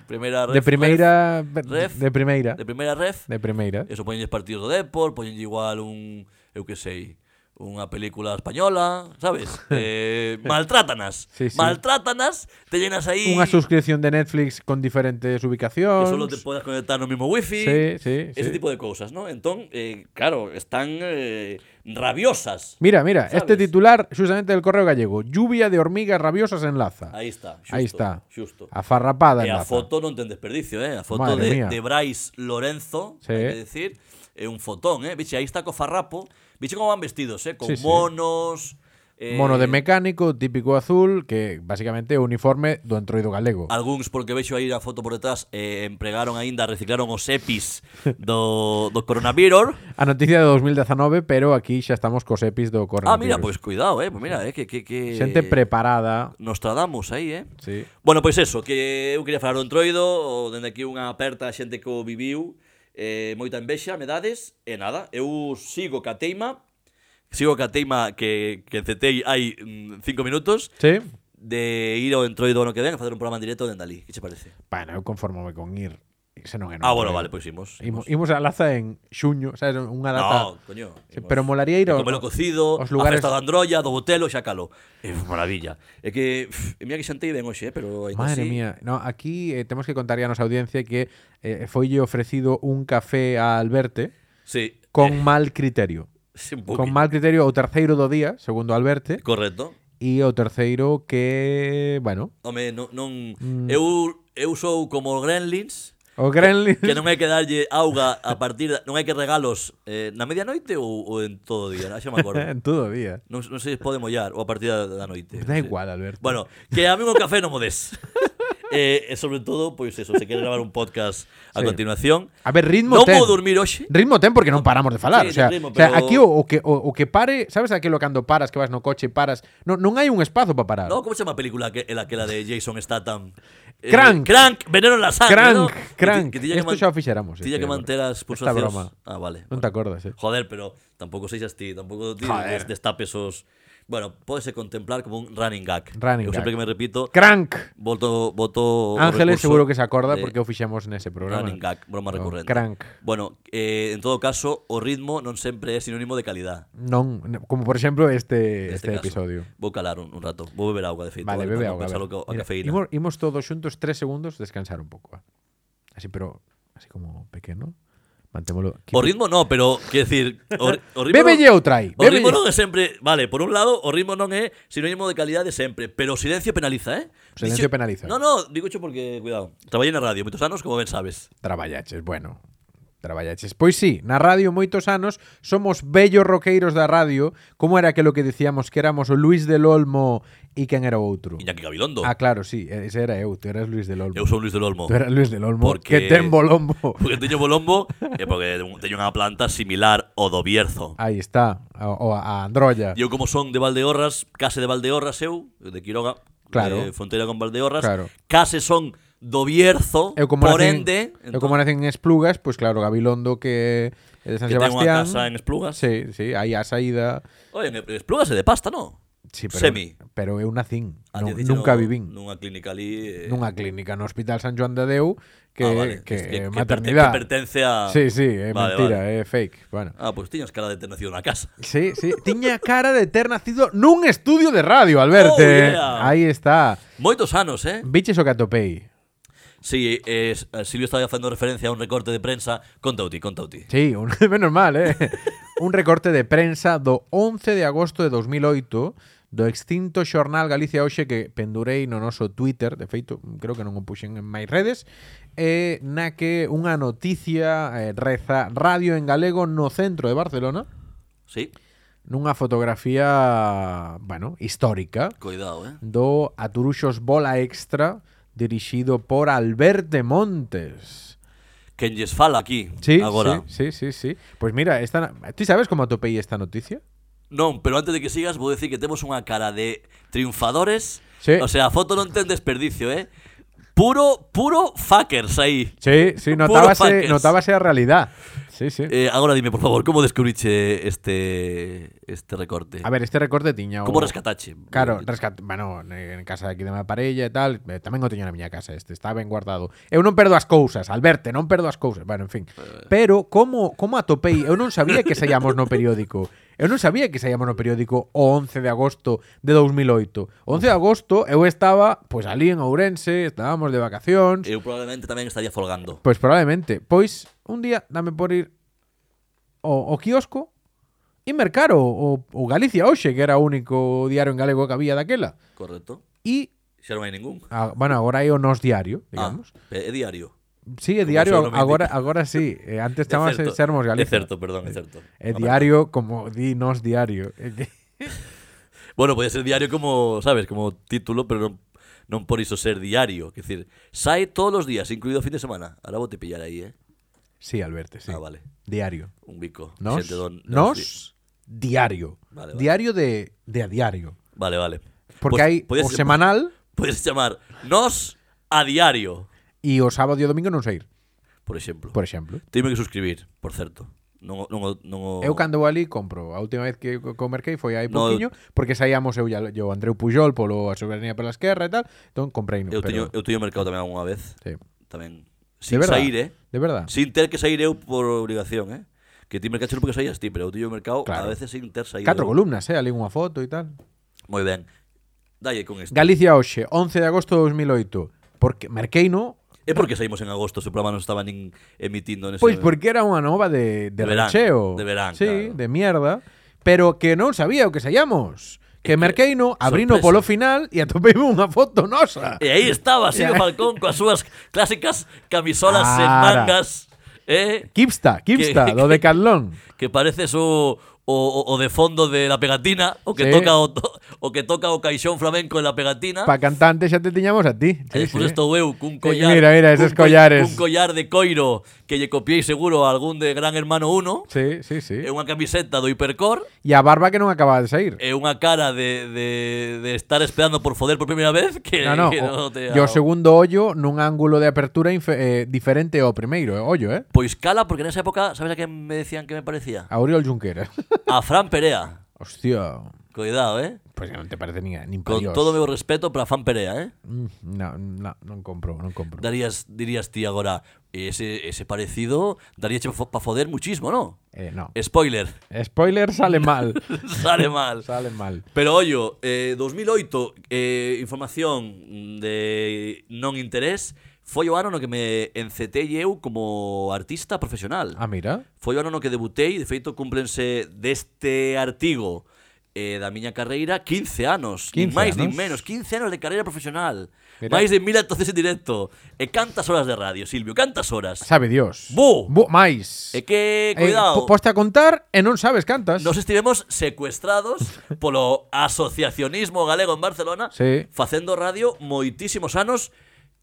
B: primeira
A: de
B: ref-
A: primera.
B: ref-
A: de primera.
B: de primeira ref.
A: De primera.
B: Eso poñenlle partidos do Depor, poñenlle igual un, eu que sei, unha película española, sabes?
A: *laughs*
B: Eh, maltrátanas.
A: Sí, sí.
B: Maltrátanas, te llenas aí
A: Una suscripción de Netflix con diferentes
B: Eh, que
A: ubicaciones.
B: solo te puedas conectar no mismo wifi.
A: Sí, sí,
B: Ese
A: sí.
B: tipo de cosas, ¿no? Entón, eh, claro, están eh, rabiosas.
A: Mira, mira,
B: ¿Sabes?
A: este titular, justamente del correo gallego. Lluvia de hormigas rabiosas en Laza.
B: Aí está, xusto,
A: Ahí está.
B: Xusto.
A: Afarrapada
B: E
A: en
B: a
A: Laza.
B: foto non ten desperdicio, eh? A foto
A: Madre
B: de,
A: mía.
B: de Brais Lorenzo,
A: Sí.
B: hai que decir, é un fotón, eh? Vixe, aí está co farrapo. Vixe como van vestidos, eh? Con
A: Sí, sí.
B: monos... Eh,
A: Mono de mecánico, típico azul, que basicamente é o uniforme do entroido galego.
B: Algúns, porque vexo aí a foto por detrás, eh, empregaron aínda, reciclaron os EPIs do, do coronavirus.
A: A noticia de 2019, pero aquí xa estamos cos epis do
B: Ah,
A: coronavirus.
B: mira, pois cuidado, eh? Pois mira, eh? Que, que, que...
A: Xente preparada.
B: Nostradamus aí, eh?
A: Sí.
B: Bueno, pois eso, que eu quería falar do entroido, o- dende aquí unha aperta a xente que o viviu, eh, moita envexa, me dades, e nada, eu sigo ca teima, sigo ca teima que, que encetei hai mm, cinco minutos,
A: Sí.
B: de ir ao entroido ano que ven a facer un programa en directo dende ali, que che parece?
A: Bueno, eu conformome con ir. Se non é non
B: ah, bueno,
A: creo.
B: vale, pois imos.
A: Imos, imos a Laza en xuño, sabes, unha data.
B: No, pois coño.
A: Sí, pero molaría ir ao-
B: ao... Comelo cocido,
A: aos
B: aos
A: lugares-
B: lugares... a festa da Androlla, do Botelo, xa calo. É maravilla. É que, pff, e mira que xantei ben hoxe, eh, pero ainda
A: Madre
B: así,
A: mía, no, aquí eh, temos que contar a nosa audiencia que eh, foille ofrecido un café a Alberte
B: Sí,
A: con mal criterio.
B: *laughs* sí, un
A: Con
B: pouquinho.
A: mal criterio o terceiro do día, segundo Alberte,
B: Correcto.
A: e o terceiro que, bueno,
B: Home, non, non
A: Mm.
B: eu eu sou como o Gremlins,
A: o Gremlin
B: que non hai que darlle auga a partir, da- non hai que regalos eh, na medianoite ou, ou en todo o día, xa me
A: *laughs*
B: acordo.
A: en todo o día.
B: Non, non sei se pode mollar ou a partir da, da noite.
A: Da
B: non sei.
A: igual, Alberto.
B: Bueno, que a mí o café non mo
A: *laughs*
B: des. eh, e sobre todo, pois eso, se quere gravar un podcast a
A: Sí.
B: continuación.
A: A ver, ritmo
B: non
A: ten.
B: vou dormir ¿eh? hoxe.
A: Ritmo ten porque non paramos de falar, o
B: Sí,
A: sea,
B: ten
A: o
B: ritmo,
A: sea
B: pero-
A: aquí o, o que o, o que pare, sabes aquilo cando paras que vas no coche e paras, no, non hai un espazo para parar.
B: No, como se chama a película que, la, que la de Jason Statham? Eh,
A: Crank.
B: Crank, veneno en la sangre,
A: Crank,
B: ¿no?
A: crank.
B: Que ti- que tiña
A: Esto
B: man-
A: xa o fixéramos,
B: tiña
A: este,
B: que manter as
A: esta
B: pulsacións.
A: broma.
B: Ah, vale.
A: non te acordas, eh?
B: Joder, pero tampouco seis ti, tampouco ti
A: Joder.
B: des- destapes os... Bueno, pódese contemplar como un running gag.
A: Running
B: Eu
A: gag.
B: sempre que me repito,
A: Crank.
B: voto, voto o
A: Ángeles
B: recurso
A: seguro que se acorda
B: de
A: porque o fixemos nese programa.
B: Running gag,
A: O
B: broma recurrente.
A: Crank.
B: Bueno, eh, en todo caso, o ritmo non sempre é sinónimo de calidad.
A: Non, no, como por exemplo este este,
B: neste caso.
A: episodio.
B: Vou calar un, un rato, vou beber auga de feito. eh,
A: Vale, bebe
B: para
A: agua.
B: non
A: a
B: pensar
A: ver.
B: o ca- a
A: Mira,
B: cafeína.
A: imos, imos todos xuntos tres segundos descansar un pouco. va. Así, pero así como pequeno. Mantémolo. aquí.
B: O ritmo no, pero, quer decir, o, ri- o ritmo...
A: Bébelle
B: non-
A: outra aí,
B: O
A: bébelle.
B: ritmo non é sempre... Vale, por un lado, o ritmo non é sinónimo de calidad de sempre, pero o silencio penaliza, eh?
A: Silencio penaliza.
B: No, no, digo isto porque, cuidado, traballei na radio moitos anos, como ben sabes.
A: Traballaches, bueno. Traballaches. Pois sí, na radio moitos anos somos bellos roqueiros da radio, como era aquilo que dicíamos que éramos o Luis del Olmo e quen era o outro?
B: Iñaki Gabilondo.
A: Ah, claro, sí, ese era eu, tú eras Luis del Olmo.
B: Eu son Luis del Olmo.
A: Tú eras Luis del Olmo, que
B: Porque-
A: ten bolombo.
B: Porque teño Bolombo e porque teño unha planta similar ao do Bierzo.
A: Aí está, o, o- a Androlla.
B: E Eu como son de Valdeorras, case de Valdeorras eu, de Quiroga,
A: Claro.
B: de fronteira con Valdeorras,
A: Claro.
B: case son do Bierzo,
A: Eu como
B: por
A: nacen,
B: ende, entón-
A: eu como nacen en Esplugas, pois claro, Gabilondo que é de San
B: entón, que tengo unha
A: Sebastián.
B: casa en Esplugas.
A: Sí, sí, aí a saída.
B: Oye, en Esplugas é de pasta, non?
A: Sí, pero,
B: Semi.
A: pero eu nacín,
B: Ah,
A: non,
B: tío, dixo
A: nunca
B: no-
A: vivín.
B: Nunha clínica ali... eh,
A: nunha clínica no Hospital San Joan de Deu que,
B: ah, vale,
A: que,
B: es
A: é
B: que
A: maternidad.
B: perte- que pertence a...
A: Sí, sí, é
B: Vale,
A: mentira, eh.
B: vale.
A: é fake. Bueno.
B: Ah, pois pues tiñas cara de ter nacido na casa.
A: Sí, sí, tiña cara de ter nacido nun estudio de radio, Alberto.
B: Oh, yeah.
A: Aí está.
B: Moitos anos, eh?
A: Biches o que atopei.
B: Sí, eh, s- eh, Silvio estaba facendo referencia a un recorte de prensa. Conta ti, conta ti.
A: Sí, un, *laughs* menos mal, eh. Un recorte de prensa do 11 de agosto de 2008 do extinto xornal Galicia Hoxe que pendurei no noso Twitter, de feito, creo que non o puxen en máis redes, eh, na que unha noticia eh, reza radio en galego no centro de Barcelona,
B: Sí,
A: nunha fotografía, bueno, histórica
B: cuidado, eh?
A: do Aturuxos Bola Extra dirixido por Alberto Montes.
B: Quen lles fala aquí,
A: Sí,
B: agora.
A: sí, sí, sí, sí. Pues mira, esta, ¿tú sabes cómo atopei esta noticia?
B: Non, pero antes de que sigas, vou decir que temos unha cara de triunfadores.
A: Sí.
B: O sea, a foto non ten desperdicio, eh? Puro, puro fuckers aí.
A: Sí, sí,
B: Puro
A: notábase,
B: fuckers.
A: notábase a realidad. Sí, sí.
B: Eh, agora dime, por favor, como descubriche este este recorte? Eh,
A: A ver, este recorte tiña o...
B: como rescatache?
A: Claro, rescat... bueno, en casa de aquí de mi parella e tal, eh, tamén o teño na miña casa este, está ben guardado. Eu non perdo as cousas, Alberto, non perdo as cousas. Bueno, en fin.
B: Eh.
A: Pero como como atopei, eu non sabía que saíamos no periódico. Eu non sabía que saíamos no periódico o 11 de agosto de 2008. O 11 de agosto eu estaba, pois ali en Ourense, estábamos de vacacións.
B: Eu probablemente tamén estaría folgando.
A: Pois Pues probablemente. Pois un día dame por ir ao, ao kiosco e mercar o, o, o Galicia Hoxe, que era o único diario en galego que había daquela.
B: Correcto.
A: E,
B: Xa non hai ningún.
A: a, bueno, agora é o Nos Diario, digamos.
B: Ah, é é diario.
A: Sí, é
B: Como
A: diario,
B: seu nome
A: agora,
B: indica.
A: agora sí. Eh,
B: *laughs*
A: antes
B: É
A: chamase
B: certo.
A: Sermos
B: É
A: Galicia.
B: certo, Ah, perdón, é certo.
A: É
B: Correcto.
A: diario como di Nos Diario. *laughs* É que-
B: Bueno, podía ser diario como, sabes, como título, pero non, non por iso ser diario. Quer decir, sai todos os días, incluído o fin de semana. Ahora vou te pillar aí, eh?
A: Sí, Alberto, sí.
B: Ah, vale.
A: Diario.
B: Un bico.
A: Nos,
B: Xente don- dos-
A: nos Diario.
B: Vale, Pues vale.
A: Diario de, de a diario.
B: Vale, vale. Pues
A: Porque hai
B: Pois podes-
A: o semanal
B: Podes chamar Nos a diario,
A: e o sábado e o domingo non sei ir,
B: por exemplo.
A: por exemplo.
B: Tenme que suscribir, por certo. Non, o- non, o- non, o-
A: Eu cando vou ali compro. A última vez que co- comerquei foi hai
B: No,
A: pouquiño, porque saíamos eu, e al- eu Andreu Pujol polo a soberanía pola esquerda e tal, entón comprei no,
B: eu,
A: pero,
B: teño, eu teño mercado tamén algunha vez.
A: sí.
B: Tamén.
A: de
B: Sin
A: verdad,
B: sair, eh?
A: De verdad.
B: Sin ter que sair eu por obligación, eh? Que ti mercaches porque saías ti, pero eu teño mercado
A: Claro.
B: a veces sin ter saído.
A: Catro
B: eu.
A: columnas, eh, ali unha foto e tal.
B: Moi ben. Dalle con isto.
A: Galicia hoxe, 11 de agosto de 2008. Porque merquei no,
B: É porque saímos en agosto, se o programa non estaba nin emitindo nese
A: pois porque era unha nova de, de,
B: De verán,
A: rancheo.
B: de verán,
A: Sí,
B: claro.
A: de mierda. Pero que non sabía o que saíamos. Que,
B: que,
A: merquei no, abrino
B: sorpresa.
A: polo final e atopei *laughs* unha foto nosa.
B: E aí estaba Silvio
A: *laughs*
B: Falcón coas súas clásicas camisolas sen
A: Ara.
B: mangas, eh?
A: Kipsta, Kipsta,
B: Que-
A: do de Catlón.
B: que pareces o, o, o de fondo de la pegatina, o que
A: Sí.
B: toca o, to- o que toca o caixón flamenco en la pegatina.
A: Pa cantante xa te tiñamos a ti.
B: E despois estou eu cun collar.
A: mira, mira, eses
B: cun coll-
A: collares.
B: Un collar de coiro que lle copiei seguro a algún de Gran Hermano 1.
A: sí, sí, sí.
B: E unha camiseta do Hipercor
A: E a barba que non acaba de sair.
B: e unha cara de, de, de estar esperando por foder por primeira vez que,
A: no, no.
B: Eh, que
A: O,
B: non te
A: e o segundo ollo nun ángulo de apertura infe- eh, diferente ao primeiro eh, ollo, eh?
B: Pois cala, porque nesa época, sabes a que me decían que me parecía?
A: A Oriol Junqueras. *laughs*
B: A Fran Perea.
A: Hostia.
B: Cuidado, eh?
A: Pois pues non te parece nin, nin pa
B: Con
A: Dios.
B: todo o meu respeto para Fran Perea, eh?
A: Mm, No, no, non compro, non compro.
B: Darías, dirías ti agora, ese, ese parecido daría para foder muchísimo, ¿no?
A: Eh, no.
B: Spoiler, *laughs*
A: Spoiler sale mal.
B: sale mal.
A: sale mal.
B: Pero ollo, eh, 2008, eh, información de non interés, foi o ano no que me encetei eu como artista profesional.
A: Ah, mira.
B: Foi o ano no que debutei, de feito cúmplense deste artigo eh, da miña carreira 15 anos,
A: 15
B: nin máis nin
A: anos.
B: menos, 15 anos de carreira profesional.
A: Mira.
B: Máis de mil actuacións en directo. E cantas horas de radio, Silvio, cantas horas.
A: Sabe Dios.
B: Bu.
A: Bu, máis.
B: E
A: Eh,
B: que,
A: po-
B: cuidado,
A: poste a contar e non sabes cantas.
B: nos estivemos
A: *laughs*
B: secuestrados polo asociacionismo galego en Barcelona
A: Sí.
B: facendo radio moitísimos anos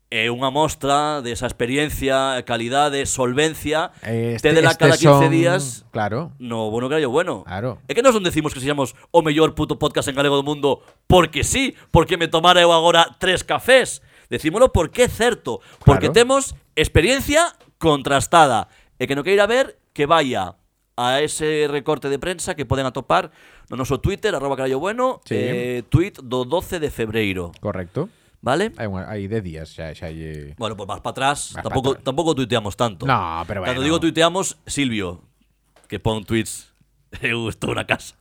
B: e unha mostra desa experiencia, calidade, solvencia
A: Eh,
B: te de la cada 15
A: son-
B: días
A: Claro.
B: No, bueno, carallo, bueno.
A: Claro.
B: É que nós non decimos que seamos o mellor puto podcast en galego do mundo porque sí, porque me tomara eu agora tres cafés. Decímolo porque é certo, porque
A: Claro.
B: temos experiencia contrastada. E que non queira ver, que vaya a ese recorte de prensa que poden atopar no noso Twitter, arroba carallo bueno,
A: Sí.
B: eh, tweet do 12 de febreiro,
A: Correcto.
B: vale?
A: Hai, unha, hai de días xa, xa lle...
B: Bueno, pues más para atrás,
A: Más pa
B: tampouco,
A: atrás.
B: tampouco tuiteamos tanto.
A: No, pero bueno.
B: Cando digo tuiteamos, Silvio, que pon tweets, *laughs* eu estou na casa.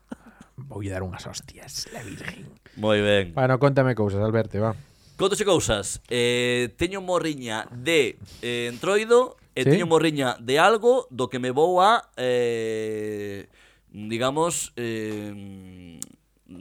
A: Vou dar unhas hostias, la virgen.
B: Moi ben.
A: Bueno, contame cousas, Alberto, va.
B: Contos e cousas. Eh, teño morriña de eh, entroido e
A: Sí?
B: teño morriña de algo do que me vou a eh, digamos eh,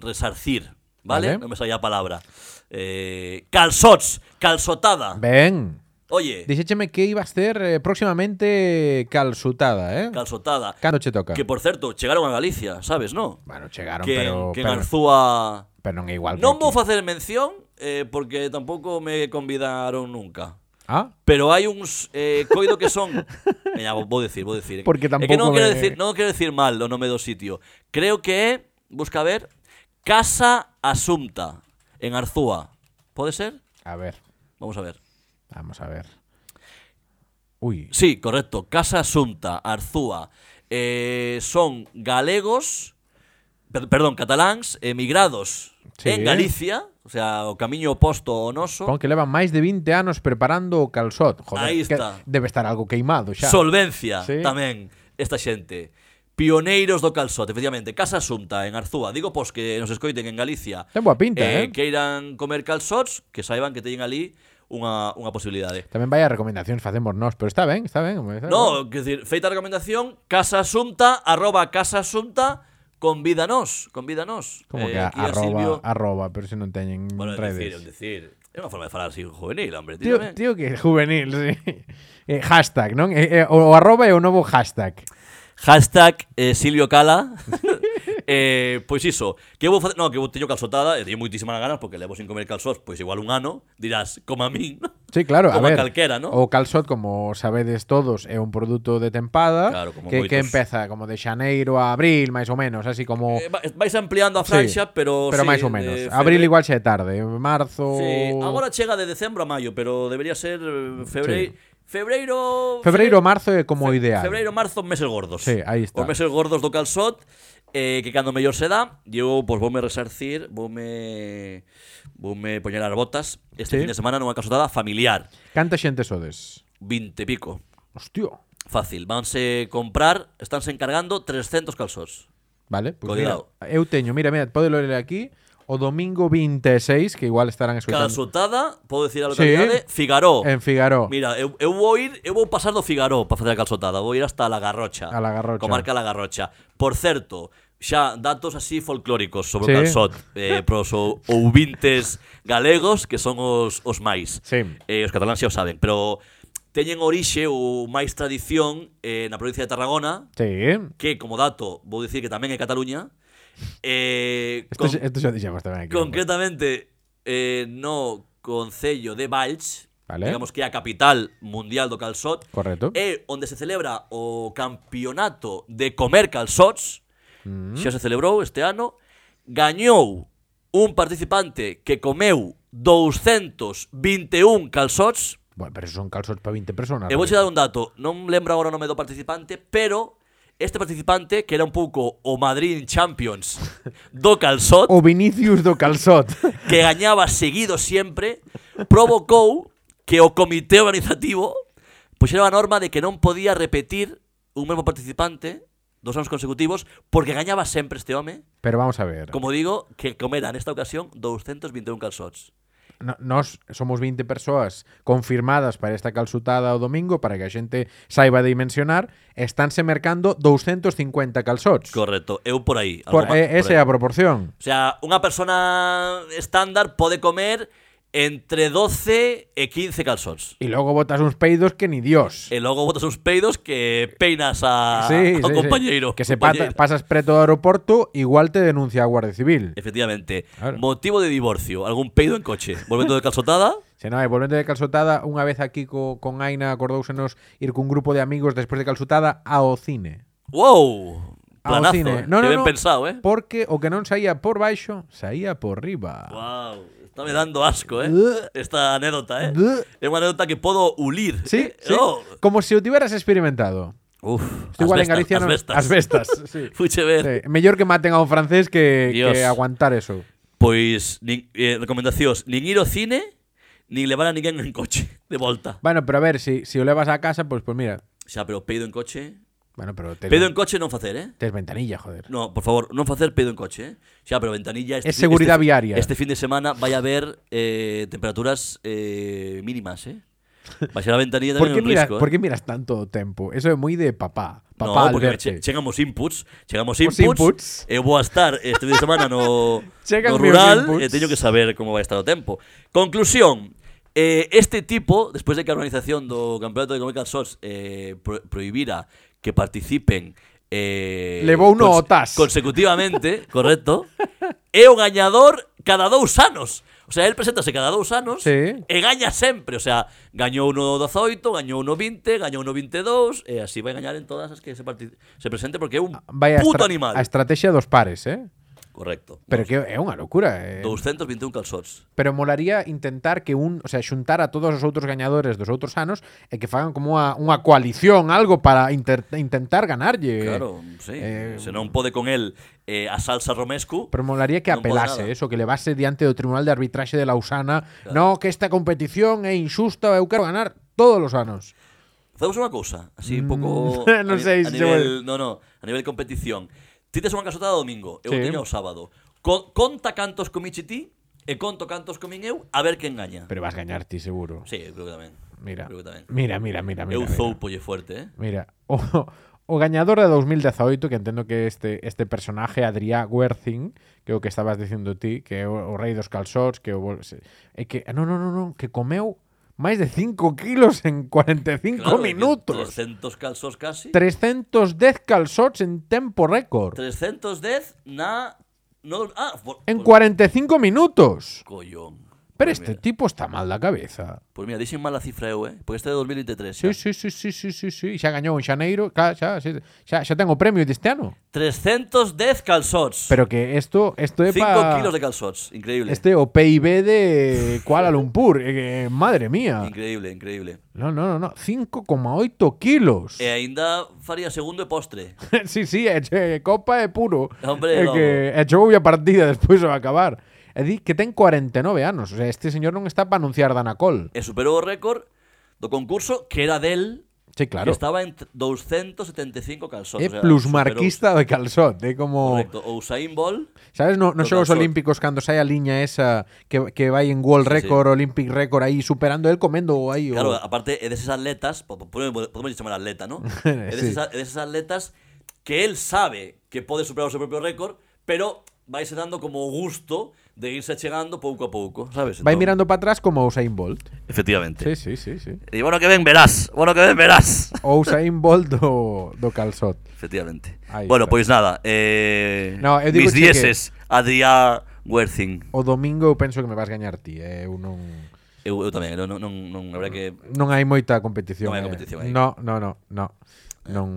B: resarcir, vale?
A: Vale.
B: Non me saía a palabra. Eh, calzots, calzotada.
A: Ben.
B: Oye,
A: Dixécheme que ibas ter eh, próximamente calzutada, eh?
B: calzotada.
A: Cando che toca?
B: Que por certo, chegaron a Galicia, sabes, no?
A: Bueno, chegaron,
B: que,
A: pero,
B: que en
A: pero,
B: Arzúa
A: pero non é igual. que
B: Non vou
A: aquí.
B: facer mención eh, porque tampouco me convidaron nunca.
A: Ah,
B: Pero hai uns eh, coido que son
A: *laughs*
B: Mira, vou vou decir, vou decir
A: Porque
B: É que non
A: tampouco
B: quero
A: me-
B: decir, non quero decir mal o nome do sitio Creo que é, busca ver Casa Asunta En Arzúa Pode ser?
A: a ver,
B: Vamos a ver
A: vamos a ver. Ui,
B: Sí, correcto, Casa Asunta, Arzúa eh, Son galegos per- Perdón, cataláns Emigrados
A: Sí.
B: en Galicia O sea, o camiño oposto ao noso
A: pon que levan máis de 20 anos preparando o calzot. Joder,
B: Aí
A: que
B: está.
A: debe estar algo queimado xa.
B: Solvencia
A: Sí.
B: tamén esta xente. Pioneiros do calzote, efectivamente. Casa Asunta, en Arzúa. Digo, pois, que nos escoiten en Galicia.
A: Ten boa pinta, eh.
B: Que irán comer calzots, que saiban que teñen ali unha, unha posibilidade.
A: Tamén vai a recomendacións facemos nós, pero está ben, está ben. está ben.
B: No, que decir, feita a recomendación, Casa Asunta, arroba Casa Asunta, convídanos, convídanos.
A: Como
B: Eh,
A: que a-
B: aquí a
A: arroba,
B: Silvio-
A: arroba, pero se non teñen
B: Bueno, é
A: redes.
B: decir, é decir, é unha forma de falar así juvenil, hombre.
A: Tío,
B: tío,
A: tío que juvenil, *laughs* sí. Eh, hashtag, non? Eh, eh, o, o arroba é o novo hashtag.
B: Hashtag eh, Silvio Cala. *laughs* eh, pois iso, que eu vou facer, no, que eu teño calzotada, e teño moitísimas ganas porque levo sin comer calzós, pois igual un ano, dirás, como a min, ¿no?
A: Sí, claro, a
B: Como a
A: ver.
B: calquera, ¿no?
A: O calzot, como sabedes todos, é un produto de tempada
B: Claro, como
A: que, que
B: moitos.
A: empeza como de xaneiro a abril, máis ou menos, así como
B: Eh, va- vais ampliando a franxa, pero
A: Oh. pero
B: sí,
A: máis ou
B: de
A: menos.
B: febre-
A: abril igual xa é tarde, eh, marzo.
B: Sí, agora chega de decembro a maio, pero debería ser eh, febreiro. Febreiro,
A: Febreiro, marzo é como
B: Fe-
A: ideal.
B: Febreiro, marzo, meses gordos.
A: Sí, aí está.
B: Os meses gordos do calzot, eh, que cando mellor se dá, eu pois voume resarcir, voume voume poñer as botas este
A: Sí.
B: fin de semana nunha calzotada familiar,
A: Canta xente sodes?
B: 20 e pico.
A: Hostia.
B: Fácil, vanse comprar, estánse encargando 300 calzós.
A: Vale, pois
B: Coidado.
A: mira, eu teño, mira, mira, podelo ler aquí, o domingo 26, que igual estarán escoitando
B: Calzotada, podo decir a
A: Sí. Eh,
B: localidade, Figaró.
A: en Figaro.
B: Mira, eu, eu vou ir, eu vou pasar do Figaró para facer a calzotada, vou ir hasta La Garrocha.
A: A La Garrocha.
B: Comarca La Garrocha. Por certo, xa datos así folclóricos
A: Sí.
B: sobre o calzot eh, pros ou- ouvintes galegos que son os, os máis.
A: Sí.
B: Eh, os cataláns xa o saben, pero teñen orixe ou máis tradición eh, na provincia de Tarragona,
A: Sí.
B: que como dato vou dicir que tamén é Cataluña. Eh,
A: Esto,
B: con-
A: xa- esto xa dixemos tamén aquí.
B: Concretamente, eh, no Concello de Valls,
A: Vale.
B: digamos que é a capital mundial do calzot,
A: Correcto.
B: é onde se celebra o campeonato de comer calzots,
A: Mm.
B: xa se celebrou este ano, gañou un participante que comeu 221 calzots,
A: Bueno, pero son calzots para 20 personas.
B: E vou che dar un dato, non lembro agora o nome do participante, pero este participante, que era un pouco o
A: *laughs*
B: Madrid Champions do calzot,
A: O Vinicius do
B: *laughs*
A: calzot.
B: que gañaba seguido sempre provocou que o comité organizativo puxera a norma de que non podía repetir un mesmo participante dos anos consecutivos porque gañaba sempre este home,
A: Pero vamos a ver.
B: como digo, que comera nesta ocasión 221 calzots.
A: No- nós somos 20 persoas confirmadas para esta calzutada o domingo para que a xente saiba dimensionar, estánse mercando 250 calzots.
B: Correcto, eu por aí. algo
A: Por, eh,
B: máis, por
A: esa é
B: aí.
A: a proporción.
B: O sea, unha persona estándar pode comer entre 12 e 15 calzóns.
A: E logo botas uns peidos que ni Dios.
B: E logo botas uns peidos que peinas *laughs* a,
A: Sí, sí, sí.
B: ao compañeiro.
A: Que se
B: compañeira.
A: pata- pasas preto do aeroporto, igual te denuncia a Guardia Civil.
B: Eh. Efectivamente.
A: Claro.
B: Motivo de divorcio. Algún peido en coche. Volvendo de calzotada.
A: Se non, e volvendo de calzotada, unha vez aquí co, con Aina acordousenos ir cun grupo de amigos despois de calzotada ao cine. *laughs*
B: ¡Wow!
A: Ao
B: Planazo.
A: cine.
B: que ben pensado, ¿eh?
A: Porque o que non saía por baixo, saía por riba.
B: ¡Wow! Está me dando asco, ¿eh?
A: Buh.
B: Esta anécdota, ¿eh?
A: Buh.
B: Es una anécdota que puedo ulir.
A: Sí,
B: ¿eh?
A: sí.
B: Oh.
A: Como se o tiveras experimentado.
B: Uf.
A: Isto igual en
B: asbestas,
A: Galicia non... Asbestas.
B: asbestas. *laughs*
A: sí.
B: Fuche ver.
A: Sí, Mellor que maten a un francés que,
B: Dios.
A: que aguantar eso.
B: Pois, nin, eh, recomendacións, nin ir ao cine, nin levar a ninguén en coche de volta.
A: Bueno, pero a ver, si, si o levas a casa, pues, pues mira.
B: Xa, pero peido en coche...
A: Bueno, pero te,
B: Peido en coche non facer, eh?
A: tes ventanilla, joder.
B: No, por favor, non facer peido en coche, eh? Xa, pero ventanilla...
A: É seguridade
B: este,
A: viaria.
B: Este fin de semana vai a haber eh, temperaturas eh, mínimas, eh? Vai ser a ventanilla
A: ¿Por
B: tamén
A: qué,
B: un
A: miras,
B: risco, eh?
A: por qué miras tanto o tempo? Eso é moi de papá. Papá
B: no, porque me
A: Alberto.
B: che, chegan os inputs, chegan os
A: Os
B: inputs,
A: inputs.
B: eu vou a estar este fin de semana no,
A: *laughs* Chegan
B: no
A: meus
B: rural
A: inputs.
B: e teño que saber como vai estar o tempo. Conclusión, eh, este tipo, despois de que a organización do Campeonato de Económica SOS eh, pro, prohibira que participen eh,
A: Levou no ao TAS.
B: consecutivamente,
A: *laughs*
B: correcto, é o gañador cada dous anos. O sea, el preséntase cada dous anos
A: Sí.
B: e gaña sempre, o sea, gañou no 18, gañou no 20, gañou no 22, e así vai gañar en todas as que se, parti- se presente porque é un
A: Ah, Vai a,
B: puto
A: estra-
B: animal.
A: a estrategia dos pares, eh?
B: Correcto.
A: Pero que é unha locura, eh?
B: 221 calzots.
A: Pero molaría intentar que un, o sea, xuntar a todos os outros gañadores dos outros anos e que fagan como unha, unha coalición, algo para inter- intentar ganarlle.
B: Claro, sí.
A: eh,
B: se non pode con el eh, a salsa romescu.
A: Pero molaría que
B: Non pode
A: apelase
B: nada.
A: eso, que levase diante do Tribunal de Arbitraxe de Lausana, no, que esta competición é injusta, eu quero ganar todos os anos.
B: Facemos unha cousa, así
A: *laughs*
B: un pouco
A: Mm, non
B: a ni-
A: sei
B: a
A: se
B: nivel, no, no, a nivel competición. Ti tes unha casotada o domingo, eu
A: Sí.
B: teño o sábado. Co- conta cantos comiche ti e conto cantos comín eu, a ver quen gaña.
A: Pero vas gañar ti seguro.
B: Sí, eu creo que tamén.
A: Mira.
B: Creo que tamén.
A: Mira, mira, mira, mira.
B: eu
A: mira.
B: zou polle fuerte, eh.
A: Mira, o, *laughs* o gañador de 2018, que entendo que este este personaje, Adrià Guercin, que é o que estabas dicindo ti, que é o, o rei dos calzots, que o, vol- se- é que non, non, non, non, que comeu máis de 5 kilos en 45
B: Claro,
A: minutos.
B: 300 calzos casi.
A: 310 calzots en tempo récord.
B: 310 na no ah, por-
A: En
B: por-
A: 45 minutos.
B: collón.
A: Pero
B: Pues
A: este
B: mira,
A: tipo está mal da cabeza.
B: Pues mira, dixen mal a cifra eu, eh, porque este é de 2023.
A: Sí,
B: xa.
A: sí, sí, sí, sí, sí, sí. Xa gañou en Xaneiro, claro, xa, xa, xa, xa ten o premio deste ano.
B: 310 calzots.
A: Pero que isto, isto é
B: 5
A: pa...
B: kilos de calzots, increíble.
A: Este o PIB de Kuala Lumpur. *laughs* eh, eh, madre mía.
B: Increíble, increíble.
A: No, no, no, no. 5,8 kilos.
B: E aínda faría segundo e postre.
A: *laughs* sí, sí, é, che- copa é puro.
B: Hombre,
A: é que e chegou a *laughs* partida despois ao acabar. E di que ten 49 anos. O sea, este señor non está para anunciar Danacol.
B: E superou o récord do concurso que era del
A: Sí, claro.
B: que estaba en t- 275 calzots.
A: É
B: e o sea,
A: plusmarquista de calzot, é
B: superou.
A: como...
B: Correcto. O Usain Bolt
A: Sabes, no, nos
B: Do
A: Xogos
B: calzot.
A: Olímpicos cando sai a liña esa que, que vai en World
B: Sí, sí.
A: Record, Olympic Record aí superando el comendo aí o...
B: Claro, aparte é deses atletas, po- po- podemos podemos chamar atleta,
A: *laughs*
B: ¿no? É
A: Sí.
B: deses, a- é deses atletas que él sabe que pode superar o seu propio récord, pero vaise dando como o gusto de irse chegando pouco a pouco, sabes?
A: vai
B: Entón,
A: mirando para atrás como Usain Bolt.
B: Efectivamente.
A: Sí, sí, sí, sí.
B: E bueno que ven verás, bueno que ven verás.
A: O Usain Bolt do, do calzot.
B: Efectivamente.
A: Aí
B: bueno,
A: está.
B: pois nada, eh
A: No, eu digo
B: mis
A: che
B: dieces, Adrià Werthing.
A: O domingo eu penso que me vas gañar ti, eh? eu non
B: Eu, eu tamén, eu non, non, non habrá que
A: non hai moita competición.
B: Non hai
A: eh.
B: competición aí. Eh,
A: No, no, no, no. Non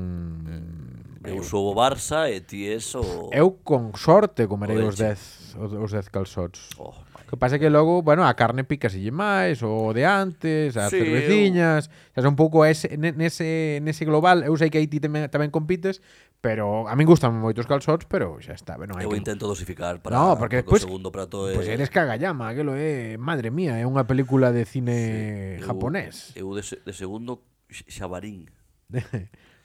B: eu sou o Barça e ti es o
A: eu con sorte comerei
B: O
A: os 10 os os 10 calzots.
B: Oh, my
A: O que pasa é que logo, bueno, a carne picasille máis, o de antes, as
B: Sí,
A: cerveciñas, eu... un pouco ese, ne- nese, nese global, eu sei que aí ti tamén, tamén compites, pero a min gustan moitos calzots, pero xa está, ben, non hai
B: Eu
A: que
B: intento dosificar para
A: No, porque despois-
B: o segundo prato e é
A: Pois Pues eres Kagayama, que lo é, madre mía, é unha película de cine *laughs*
B: eu-
A: japonés.
B: Eu de, se- de segundo X- Xabarín,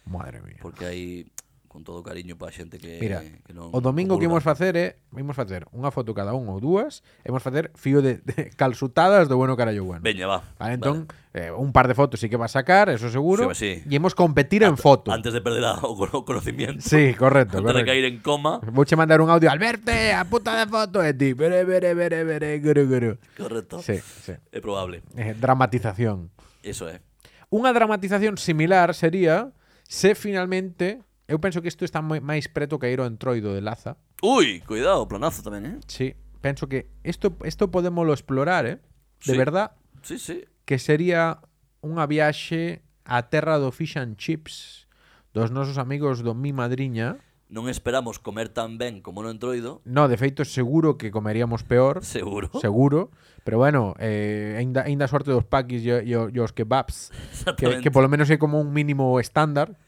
A: madre mía.
B: porque hai con todo cariño para xente que,
A: Mira,
B: Eh, que non
A: o domingo que imos
B: comulga.
A: facer é imos facer unha foto cada un ou dúas, e imos facer fío de, de *laughs* calzutadas do bueno carallo bueno.
B: Veña, va.
A: Vale, entón, eh, un par de fotos sí que va a sacar, eso seguro.
B: Sí, sí.
A: Y hemos competir en
B: Ant-
A: foto.
B: Antes de perder a- o cono- conocimiento.
A: Sí, correcto.
B: antes de
A: correcto.
B: caer en coma.
A: *laughs* Voy a mandar un audio. Alberto, a puta de foto de ti. Bere, bere, bere, bere, guru, guru.
B: Correcto.
A: Sí, sí.
B: É probable.
A: Eh, dramatización.
B: Eso é.
A: Unha dramatización similar sería se finalmente... Eu penso que isto está moi, máis preto que ir ao entroido de Laza.
B: Ui, cuidado, planazo tamén, eh?
A: Sí. Penso que isto, isto podemos explorar, eh? De
B: Sí.
A: verdad,
B: Sí, sí.
A: que sería unha viaxe á terra do fish and chips dos nosos amigos do Mi Madriña.
B: Non esperamos comer tan ben como no entroido.
A: No, de feito, seguro que comeríamos peor.
B: *laughs* Seguro.
A: Seguro. Pero bueno, eh, ainda, ainda sorte dos paquis e, e, o- e os kebabs. Que,
B: Exactamente.
A: que polo menos é como un mínimo estándar.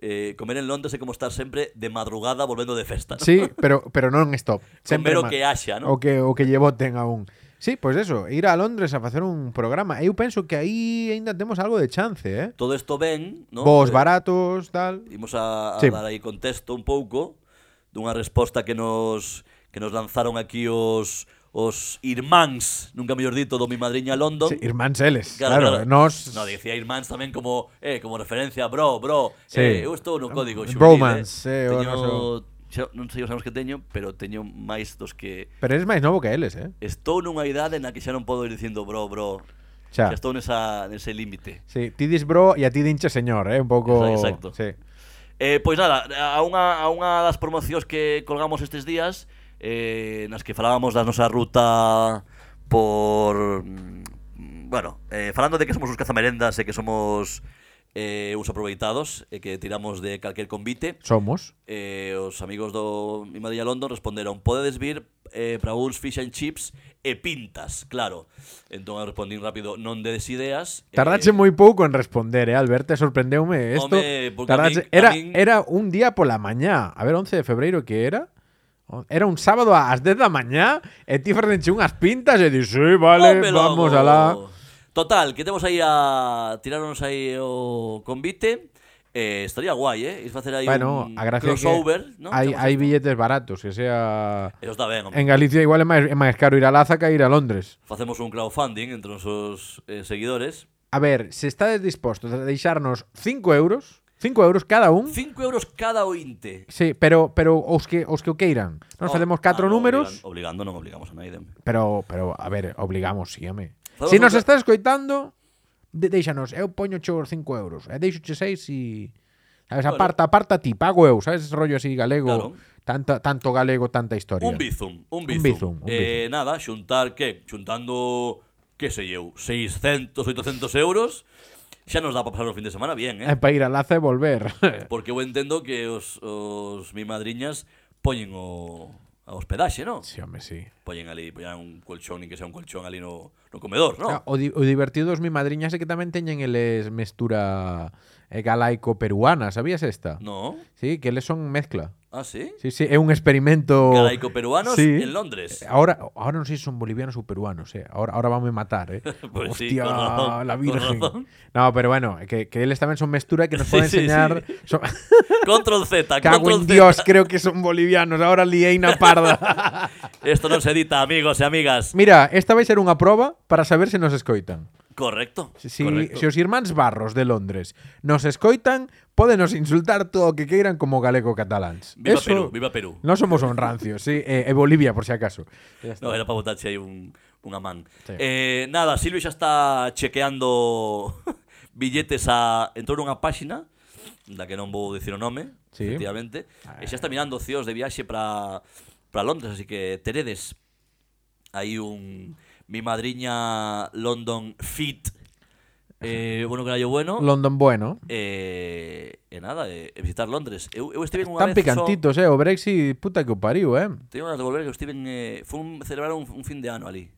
B: Eh, comer en Londres é como estar sempre de madrugada volvendo de festa. ¿no?
A: Sí, pero, pero non stop. Sempre
B: Comer o
A: má-
B: que haxa, Ah,
A: O
B: ¿no?
A: que, o que lle boten aún. Sí, pois pues eso, ir a Londres a facer un programa. Eu penso que aí ainda temos algo de chance, eh?
B: Todo isto ben, ¿no?
A: Vos
B: Eh,
A: baratos, tal.
B: Imos a, a
A: Sí.
B: dar aí contexto un pouco dunha resposta que nos que nos lanzaron aquí os os irmáns, nunca mellor dito, do mi madriña London.
A: Sí, irmáns eles, claro, nos
B: No, dicía irmáns tamén como eh, como referencia, bro, bro.
A: Sí.
B: Eh, eu estou no código xuvenil.
A: Bromance, eh,
B: eh.
A: o
B: teño,
A: noso-
B: xa non sei os anos que teño, pero teño máis dos que
A: Pero eres máis novo que eles, eh?
B: estou nunha idade na que xa non podo ir dicindo bro, bro.
A: Xa.
B: Xa estou nesa nese límite.
A: Sí, ti dis bro e a ti dinche señor, eh? Un pouco...
B: Exacto, exacto.
A: Sí.
B: Eh, pois nada, a unha, a unha das promocións que colgamos estes días eh, Nas que falábamos da nosa ruta por... mm, Bueno, eh, falando de que somos uns cazamerendas e que somos eh, uns aproveitados E que tiramos de calquer convite
A: Somos.
B: eh, Os amigos do Mi Madrid London responderon Podedes vir eh, para uns fish and chips e pintas, claro Entón eu respondín rápido, non dedes ideas eh,
A: Tardache moi pouco en responder, eh, Alberto, sorprendeume esto.
B: Home, porque
A: Tardache-
B: a min- a
A: era,
B: min-
A: era un día pola mañá, a ver, 11 de febreiro que era? O- Era un sábado ás 10 da mañá e ti ferdenche unhas pintas e dis, sí, vale,
B: Come logo.
A: vamos alá.
B: Total, que temos aí a tirarnos aí o convite. Eh, estaría guai, eh? Ir facer aí
A: Bueno,
B: un
A: a gracia é que
B: crossover, ¿no?
A: hai,
B: Temos
A: hai
B: esto.
A: billetes baratos, que sea...
B: Eso está ben, hombre.
A: En Galicia igual é máis, é máis caro ir a Laza que ir a Londres.
B: Facemos un crowdfunding entre os nosos eh, seguidores.
A: A ver, se estades dispostos a deixarnos 5 euros, 5 euros cada un,
B: 5 euros cada ointe.
A: sí, pero pero os que os que o queiran. Nos
B: Oh,
A: facemos catro
B: ah, no,
A: números,
B: Obligando, obligando non obligamos a naide. hombre.
A: pero pero a ver, obligamos, síame.
B: Facemos
A: Se nos
B: un ca-
A: estás escoitando, de, deixanos, eu poño os 5 euros, eh, e deixoche 6 e sabes,
B: Bueno.
A: aparta, aparta ti, pago eu, sabes, ese rollo así galego,
B: Claro.
A: tanta, tanto galego, tanta historia.
B: Un bizum, un bizum.
A: bizum, un
B: eh, nada, xuntar, que? Xuntando, que sei eu, 600, 800 euros, xa nos dá para pasar o fin de semana bien, eh?
A: É para ir a Laza e volver. *laughs*
B: Porque eu entendo que os, os mi madriñas poñen o, a hospedaxe, non?
A: sí, home, sí.
B: Poñen ali, poñan un colchón, nin que sea un colchón ali no, no comedor, non?
A: Ah, O, di- o divertido es mi madriña sé que tamén teñen eles mestura eh, galaico-peruana, sabías esta?
B: No.
A: Sí, que eles son mezcla.
B: Ah, sí?
A: Sí, sí, é un experimento...
B: Galaico-peruanos
A: Oh, Sí.
B: en Londres.
A: Ahora, ahora non sei se son bolivianos ou peruanos, eh. Ahora, ahora vamos a matar, eh.
B: *laughs* Pues sí,
A: Hostia,
B: con razón,
A: la
B: con
A: virgen.
B: razón.
A: No, pero bueno, que, que eles tamén son mestura que nos
B: Sí,
A: poden
B: sí,
A: enseñar...
B: sí. *laughs*
A: Son- *laughs*
B: Control Z,
A: Cago en
B: Control Z.
A: Dios, creo que son bolivianos. Ahora liei na parda.
B: *laughs* Esto non se edita, amigos e amigas.
A: Mira, esta vai ser unha proba para saber se nos escoitan.
B: Correcto.
A: Si, si,
B: correcto.
A: si os irmáns Barros de Londres nos escoitan, podenos insultar todo o que queiran como galego-cataláns.
B: Viva
A: Eso-
B: Perú, viva Perú.
A: Non somos honrancios, sí. E, e Bolivia, por si acaso. Ya está.
B: *laughs* No, era para botarse aí un, unha man.
A: Sí.
B: Eh, nada, Silvio xa está chequeando *laughs* billetes a... Entrou nunha páxina, da que non vou dicir o nome,
A: Sí. Ah.
B: efectivamente, e xa está mirando cios de viaxe para para Londres, así que teredes hai un mi madriña London Fit eh, bueno que yo bueno
A: London bueno.
B: eh, e nada, eh, visitar Londres eu, eu estive unha
A: Tan
B: vez só-
A: picantitos, eh. O Brexit, puta que o pariu, eh.
B: Teño ganas de volver que estiven eh, fun celebrar un, un fin de ano ali.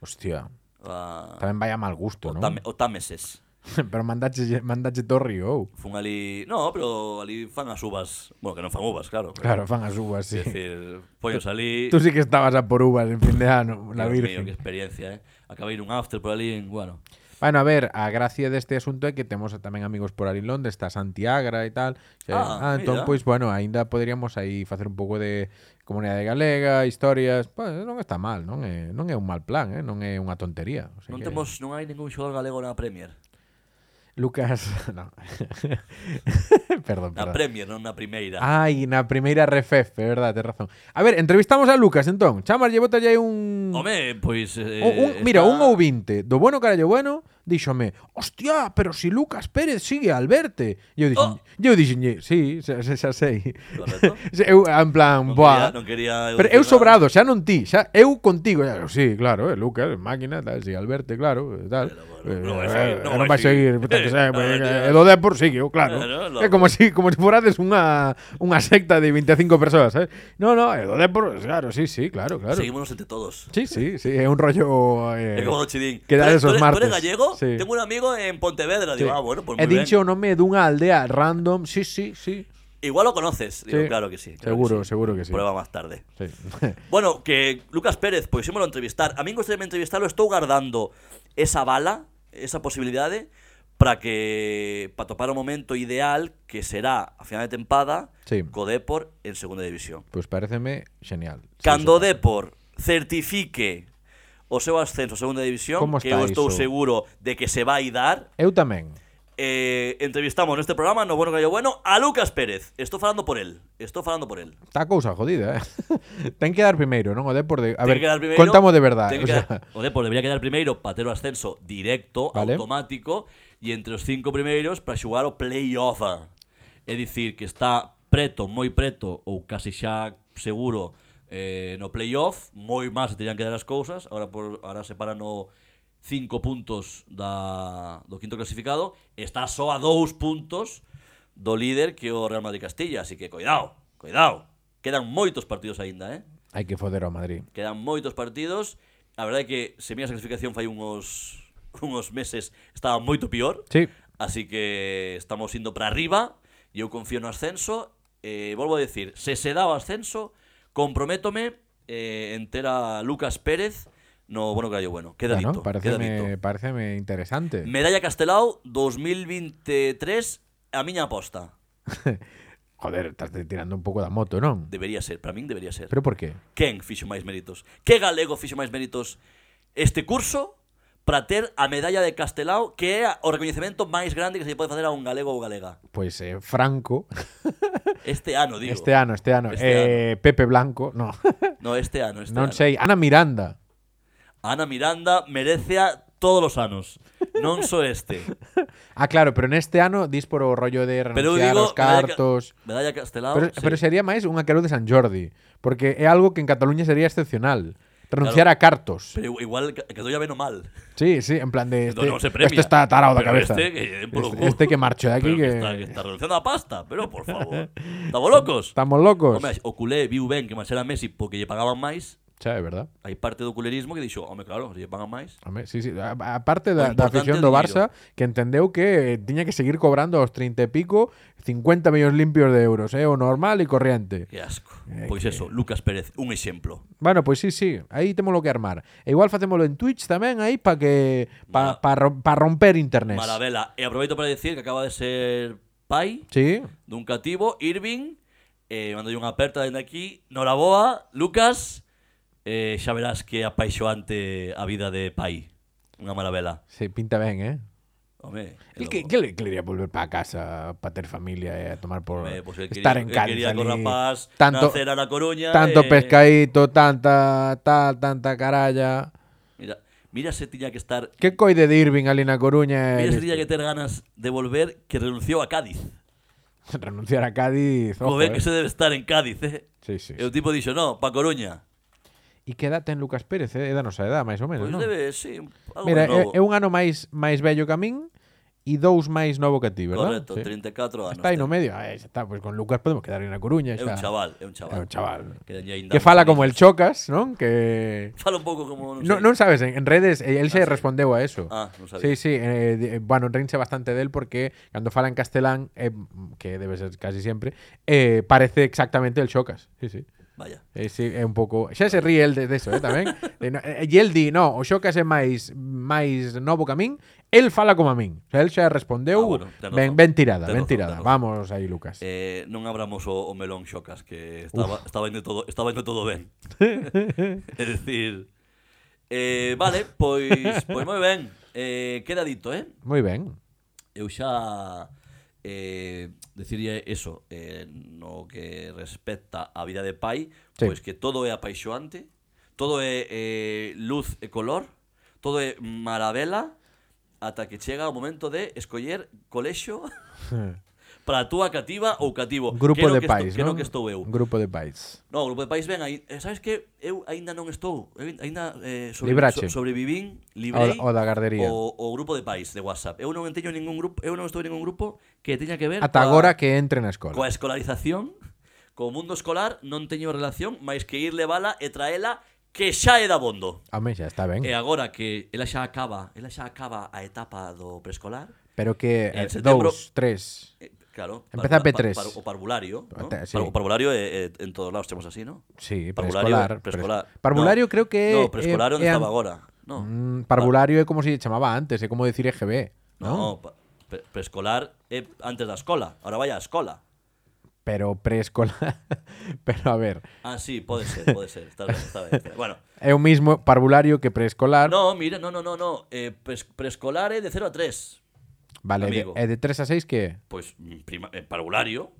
A: Hostia,
B: A,
A: tamén vai a mal gusto,
B: o,
A: non?
B: Tam- o Támeses.
A: *laughs* Pero mandache, mandache todo río. ou.
B: Fun ali, no, pero ali fan as uvas. Bueno, que non fan uvas, claro. pero,
A: Claro, fan as uvas, sí.
B: Es decir, pollos ali.
A: *laughs* Tú sí que estabas a por uvas en fin de ano, la
B: Dios mío,
A: virgen.
B: que experiencia, eh. Acabei nun after por ali en, bueno.
A: Bueno, a ver, a gracia deste asunto é que temos tamén amigos por ali en Londres, está Santiagra e tal. Xa,
B: Ah,
A: ah, entón,
B: mira.
A: pois, bueno, aínda poderíamos aí facer un pouco de comunidade galega, historias, pois, non está mal, non é, non é un mal plan, eh? non é unha tontería. O sea
B: non
A: que-
B: temos, non hai ningún xogador galego na Premier.
A: Lucas, *laughs* no. perdón,
B: Na
A: perdón.
B: Premier, non na primeira.
A: Ai, na primeira refef, é verdade, tes razón. A ver, entrevistamos a Lucas, entón. Chamarlle, botalle aí un...
B: Home, pois... Eh,
A: Un- un- mira,
B: está-
A: un ouvinte do bueno carallo bueno díxome, hostia, pero si Lucas Pérez sigue al verte. E Eu dixen,
B: Oh.
A: eu dixenlle, sí, xa, xa, xa sei.
B: Correcto.
A: *laughs* Se- eu en plan,
B: Non
A: buah.
B: quería- non quería eu
A: pero
B: dicir
A: eu
B: nada.
A: sobrado, xa non ti, xa eu contigo. Xa, sí, claro, eh, Lucas, máquina, tal, sigue al verte, claro, eh, tal.
B: bueno, non
A: Eh,
B: vai seguir, non
A: non
B: vai
A: vai seguir,
B: seguir.
A: puta que
B: *laughs*
A: sabe,
B: Eh,
A: pois,
B: nada,
A: eh,
B: tío.
A: e do Depor sigue, eu, claro.
B: Claro,
A: É
B: loco.
A: como si como se forades unha unha secta de 25 persoas, eh. No, no, e do Depor, claro, sí, sí, claro, claro.
B: Seguímonos entre todos.
A: Sí, sí, sí, é un rollo eh,
B: É como do Chidín.
A: que dar
B: ¿Tú eres-
A: esos
B: tú eres-
A: martes.
B: ¿Tú eres gallego?
A: Sí.
B: Tengo un amigo en Pontevedra. Digo,
A: Sí.
B: ah, bueno, pues
A: He
B: muy bien.
A: dicho o nome dunha aldea random. Sí, sí, sí.
B: Igual lo conoces. Digo,
A: Sí.
B: claro que sí. claro
A: Seguro, seguro que sí.
B: Prueba más tarde.
A: Sí. *laughs*
B: Bueno, que Lucas Pérez, pues pois ímolo entrevistar. A min gostaríame entrevistarlo, estou guardando esa bala, esa posibilidade, para que para topar o momento ideal que será a final de tempada
A: Sí.
B: co Depor en segunda división.
A: Pois pareceme genial. Sí,
B: Cando o
A: sí.
B: Depor certifique o seu ascenso a segunda división,
A: Como
B: que
A: está
B: eu estou
A: iso?
B: seguro de que se vai dar,
A: Eu tamén.
B: eh, entrevistamos neste programa, no bueno que yo bueno, a Lucas Pérez. Estou falando por él, estou falando por él.
A: Está cousa jodida, eh. *laughs* Ten que dar primeiro, non o Depor de A
B: Ten
A: ver,
B: que quedar primeiro,
A: contamos de verdad.
B: ten
A: O
B: que
A: sea,
B: quedar- o Depor debería quedar primeiro para ter o ascenso directo,
A: Vale.
B: automático, e entre os cinco primeiros para xogar o playoff. É dicir, que está preto, moi preto, ou case xa seguro eh, no playoff, moi máis se terían que dar as cousas, ahora, por, ahora separan o cinco puntos da, do quinto clasificado, está só a dous puntos do líder que é o Real Madrid Castilla, así que cuidado, cuidado, quedan moitos partidos aínda, eh?
A: *laughs* hai que foder ao Madrid.
B: Quedan moitos partidos. A verdade é que se miras a clasificación fai *laughs* uns unos meses estaba moito peor.
A: Sí.
B: Así que estamos indo para arriba e eu confío no ascenso. Eh, volvo a decir, se se dá o ascenso, comprométome eh, en ter a Lucas Pérez no bueno que bueno. Queda
A: Bueno,
B: dito, queda
A: pareceme,
B: dito.
A: pareceme interesante.
B: Medalla Castelao 2023 a miña aposta.
A: Joder, estás tirando un pouco da moto, non?
B: Debería ser, para min debería ser.
A: Pero por qué?
B: Quen fixo máis méritos? Que galego fixo máis méritos este curso para ter a medalla de Castelao, que é o recoñecemento máis grande que se lle pode facer a un galego ou galega.
A: Pois eh, Franco,
B: Este ano, digo.
A: este ano, este ano, eh,
B: Este
A: Pepe Blanco, no,
B: No, *laughs* este ano, este
A: non
B: ano.
A: sei, Ana Miranda.
B: Ana Miranda merece a todos os anos. Non só este.
A: Ah, claro, pero neste ano dis por o rollo de
B: Pero eu
A: renunciar
B: digo...
A: aos cartos.
B: Medalla, ca- medalla Castelao...
A: Pero,
B: sí.
A: pero sería máis unha quero de San Jordi, porque é algo que en Cataluña sería excepcional. Renunciar a cartos.
B: Pero igual que que eu ya veno mal.
A: Sí, sí, en plan de este,
B: no, no se premia.
A: este está tarado da
B: Pero
A: cabeza.
B: Este que, por
A: este, este que marcho de aquí
B: Pero
A: que,
B: está, que está renunciando a pasta, pero por favor. Estamos locos.
A: estamos locos.
B: Home, o culé viu ben que marchara Messi porque lle pagaban máis.
A: Xa, é verdad.
B: Hai parte do culerismo que dixo, home, claro, se lle pagan máis.
A: Home, sí, sí. A, a parte da, da
B: O importante
A: afición
B: é
A: do
B: o
A: Barça que entendeu que eh, tiña que seguir cobrando aos 30 e pico 50 millóns limpios de euros, é eh, o normal e corriente.
B: Que asco. pois eso, Lucas Pérez, un exemplo.
A: Bueno, pois sí, sí, aí temos lo que armar. E igual facémolo en Twitch tamén aí para que para
B: Mala-
A: pa, rom- pa romper internet.
B: Maravela. E aproveito para decir que acaba de ser pai
A: Sí,
B: dun cativo, Irving. Eh, mando unha aperta dende aquí. Noraboa, Lucas. Eh, xa verás que apaixoante a vida de pai. Unha maravela.
A: se pinta ben, eh?
B: Home,
A: El que, que le quería volver para casa, para ter familia e a tomar por
B: Home, pois el
A: estar
B: pues quería-
A: en
B: el
A: Cádiz.
B: quería con
A: ali.
B: rapaz,
A: tanto
B: nacer a La Coruña,
A: tanto
B: eh.
A: pescadito, tanta tal, tanta caralla.
B: Mira, mira se tiña que estar...
A: Que coide de Irving ali na Coruña e
B: *laughs* Mira
A: listo.
B: se tiña que ter ganas de volver que renunció a Cádiz.
A: *laughs* renunciar a Cádiz.
B: Como
A: Ojo,
B: ven Pues que
A: eh.
B: se debe estar en Cádiz, eh.
A: Sí, sí.
B: E o tipo dixo, no, pa Coruña.
A: E que edad ten Lucas Pérez, eh? É da nosa edad, máis ou menos,
B: Pois
A: non?
B: debe, sí, algo
A: Mira,
B: novo.
A: é, é un ano máis máis vello que a min e dous máis novo que a ti, verdad?
B: Correcto,
A: Sí.
B: 34 anos.
A: Está aí no
B: ten.
A: medio. Ah, xa está, pois con Lucas podemos quedar en a Coruña,
B: É
A: xa.
B: un chaval, é un chaval.
A: É un chaval.
B: Que, daña ainda
A: Que
B: uns
A: fala como el
B: añitos.
A: Chocas, non? Que
B: Fala un pouco como... Non,
A: No,
B: sei.
A: non sabes, en, en redes eh, el se
B: Ah, sí.
A: respondeu a eso.
B: Ah, non sabía.
A: Sí, sí, eh, de- bueno, rinse bastante del porque cando fala en castelán, eh, que debe ser casi sempre, eh, parece exactamente el Xocas. Sí, sí.
B: Vaya.
A: Eh, sí, é un pouco, xa se *laughs* ríe el de, de eso, eh, tamén. De, no, eh, e el di, no, o Xocas é máis máis novo que a min el fala como a min. O sea, el xa respondeu
B: Ah, bueno, ten
A: ben,
B: razón.
A: ben tirada,
B: Ten
A: ben
B: razón,
A: tirada.
B: ten razón.
A: Vamos aí, Lucas.
B: Eh, non abramos o, o melón xocas que estaba estaba indo todo estaba indo
A: *laughs*
B: todo ben. é dicir, eh, vale, pois pois moi ben. Eh, queda dito, eh?
A: Moi ben.
B: eu xa eh, deciría eso eh, no que respecta a vida de pai
A: Sí.
B: pois que todo é apaixoante todo é eh, luz e color todo é maravela ata que chega o momento de escoller
A: *laughs*
B: colexo para a túa cativa ou cativo
A: Grupo
B: Quero
A: de
B: que
A: pais,
B: estou, quero
A: non?
B: que estou eu
A: Grupo de pais.
B: No, o grupo de pais ben aí, eh, sabes que eu aínda non estou, eu aínda eh, sobre,
A: Librache.
B: so, sobrevivín, librei
A: Ao- ao da gardería.
B: O, o grupo de pais de WhatsApp. Eu non teño ningún grupo, eu non estou en ningún grupo que teña que ver
A: Ata
B: coa-
A: agora que entre na escola.
B: coa escolarización, co mundo escolar, non teño relación máis que ir levala e traela que xa é da bondo.
A: Home, xa está ben.
B: E agora que ela xa acaba, ela xa acaba a etapa do preescolar,
A: Pero que
B: en
A: eh,
B: setembro-
A: dous, tres...
B: eh, claro,
A: Empeza
B: parvula-
A: P3.
B: par- par- o parvulario, ¿no?
A: Te- sí.
B: Par- O parvulario eh, eh, en todos lados temos así, ¿no?
A: Sí, preescolar.
B: Parvulario,
A: pres-
B: preescolar.
A: Parvulario creo que...
B: No, preescolar
A: é-
B: onde
A: é
B: estaba
A: an-
B: agora. No.
A: Mm, parvulario é como se chamaba antes, é como decir EGB.
B: No,
A: ¿no?
B: pa- pre- preescolar é antes da escola. Ahora vai á escola.
A: Pero preescolar... *laughs* pero a ver,
B: Ah, sí, pode ser, pode ser. Está ben, está ben.
A: *laughs*
B: Bueno,
A: é o mismo parvulario que preescolar.
B: no, mira, no, no, no, no. Eh, pres- preescolar é de 0 a 3.
A: vale, é de-
B: amigo.
A: é de 3 a 6 que... *laughs* é?
B: Pois, mm, prima, eh, parvulario.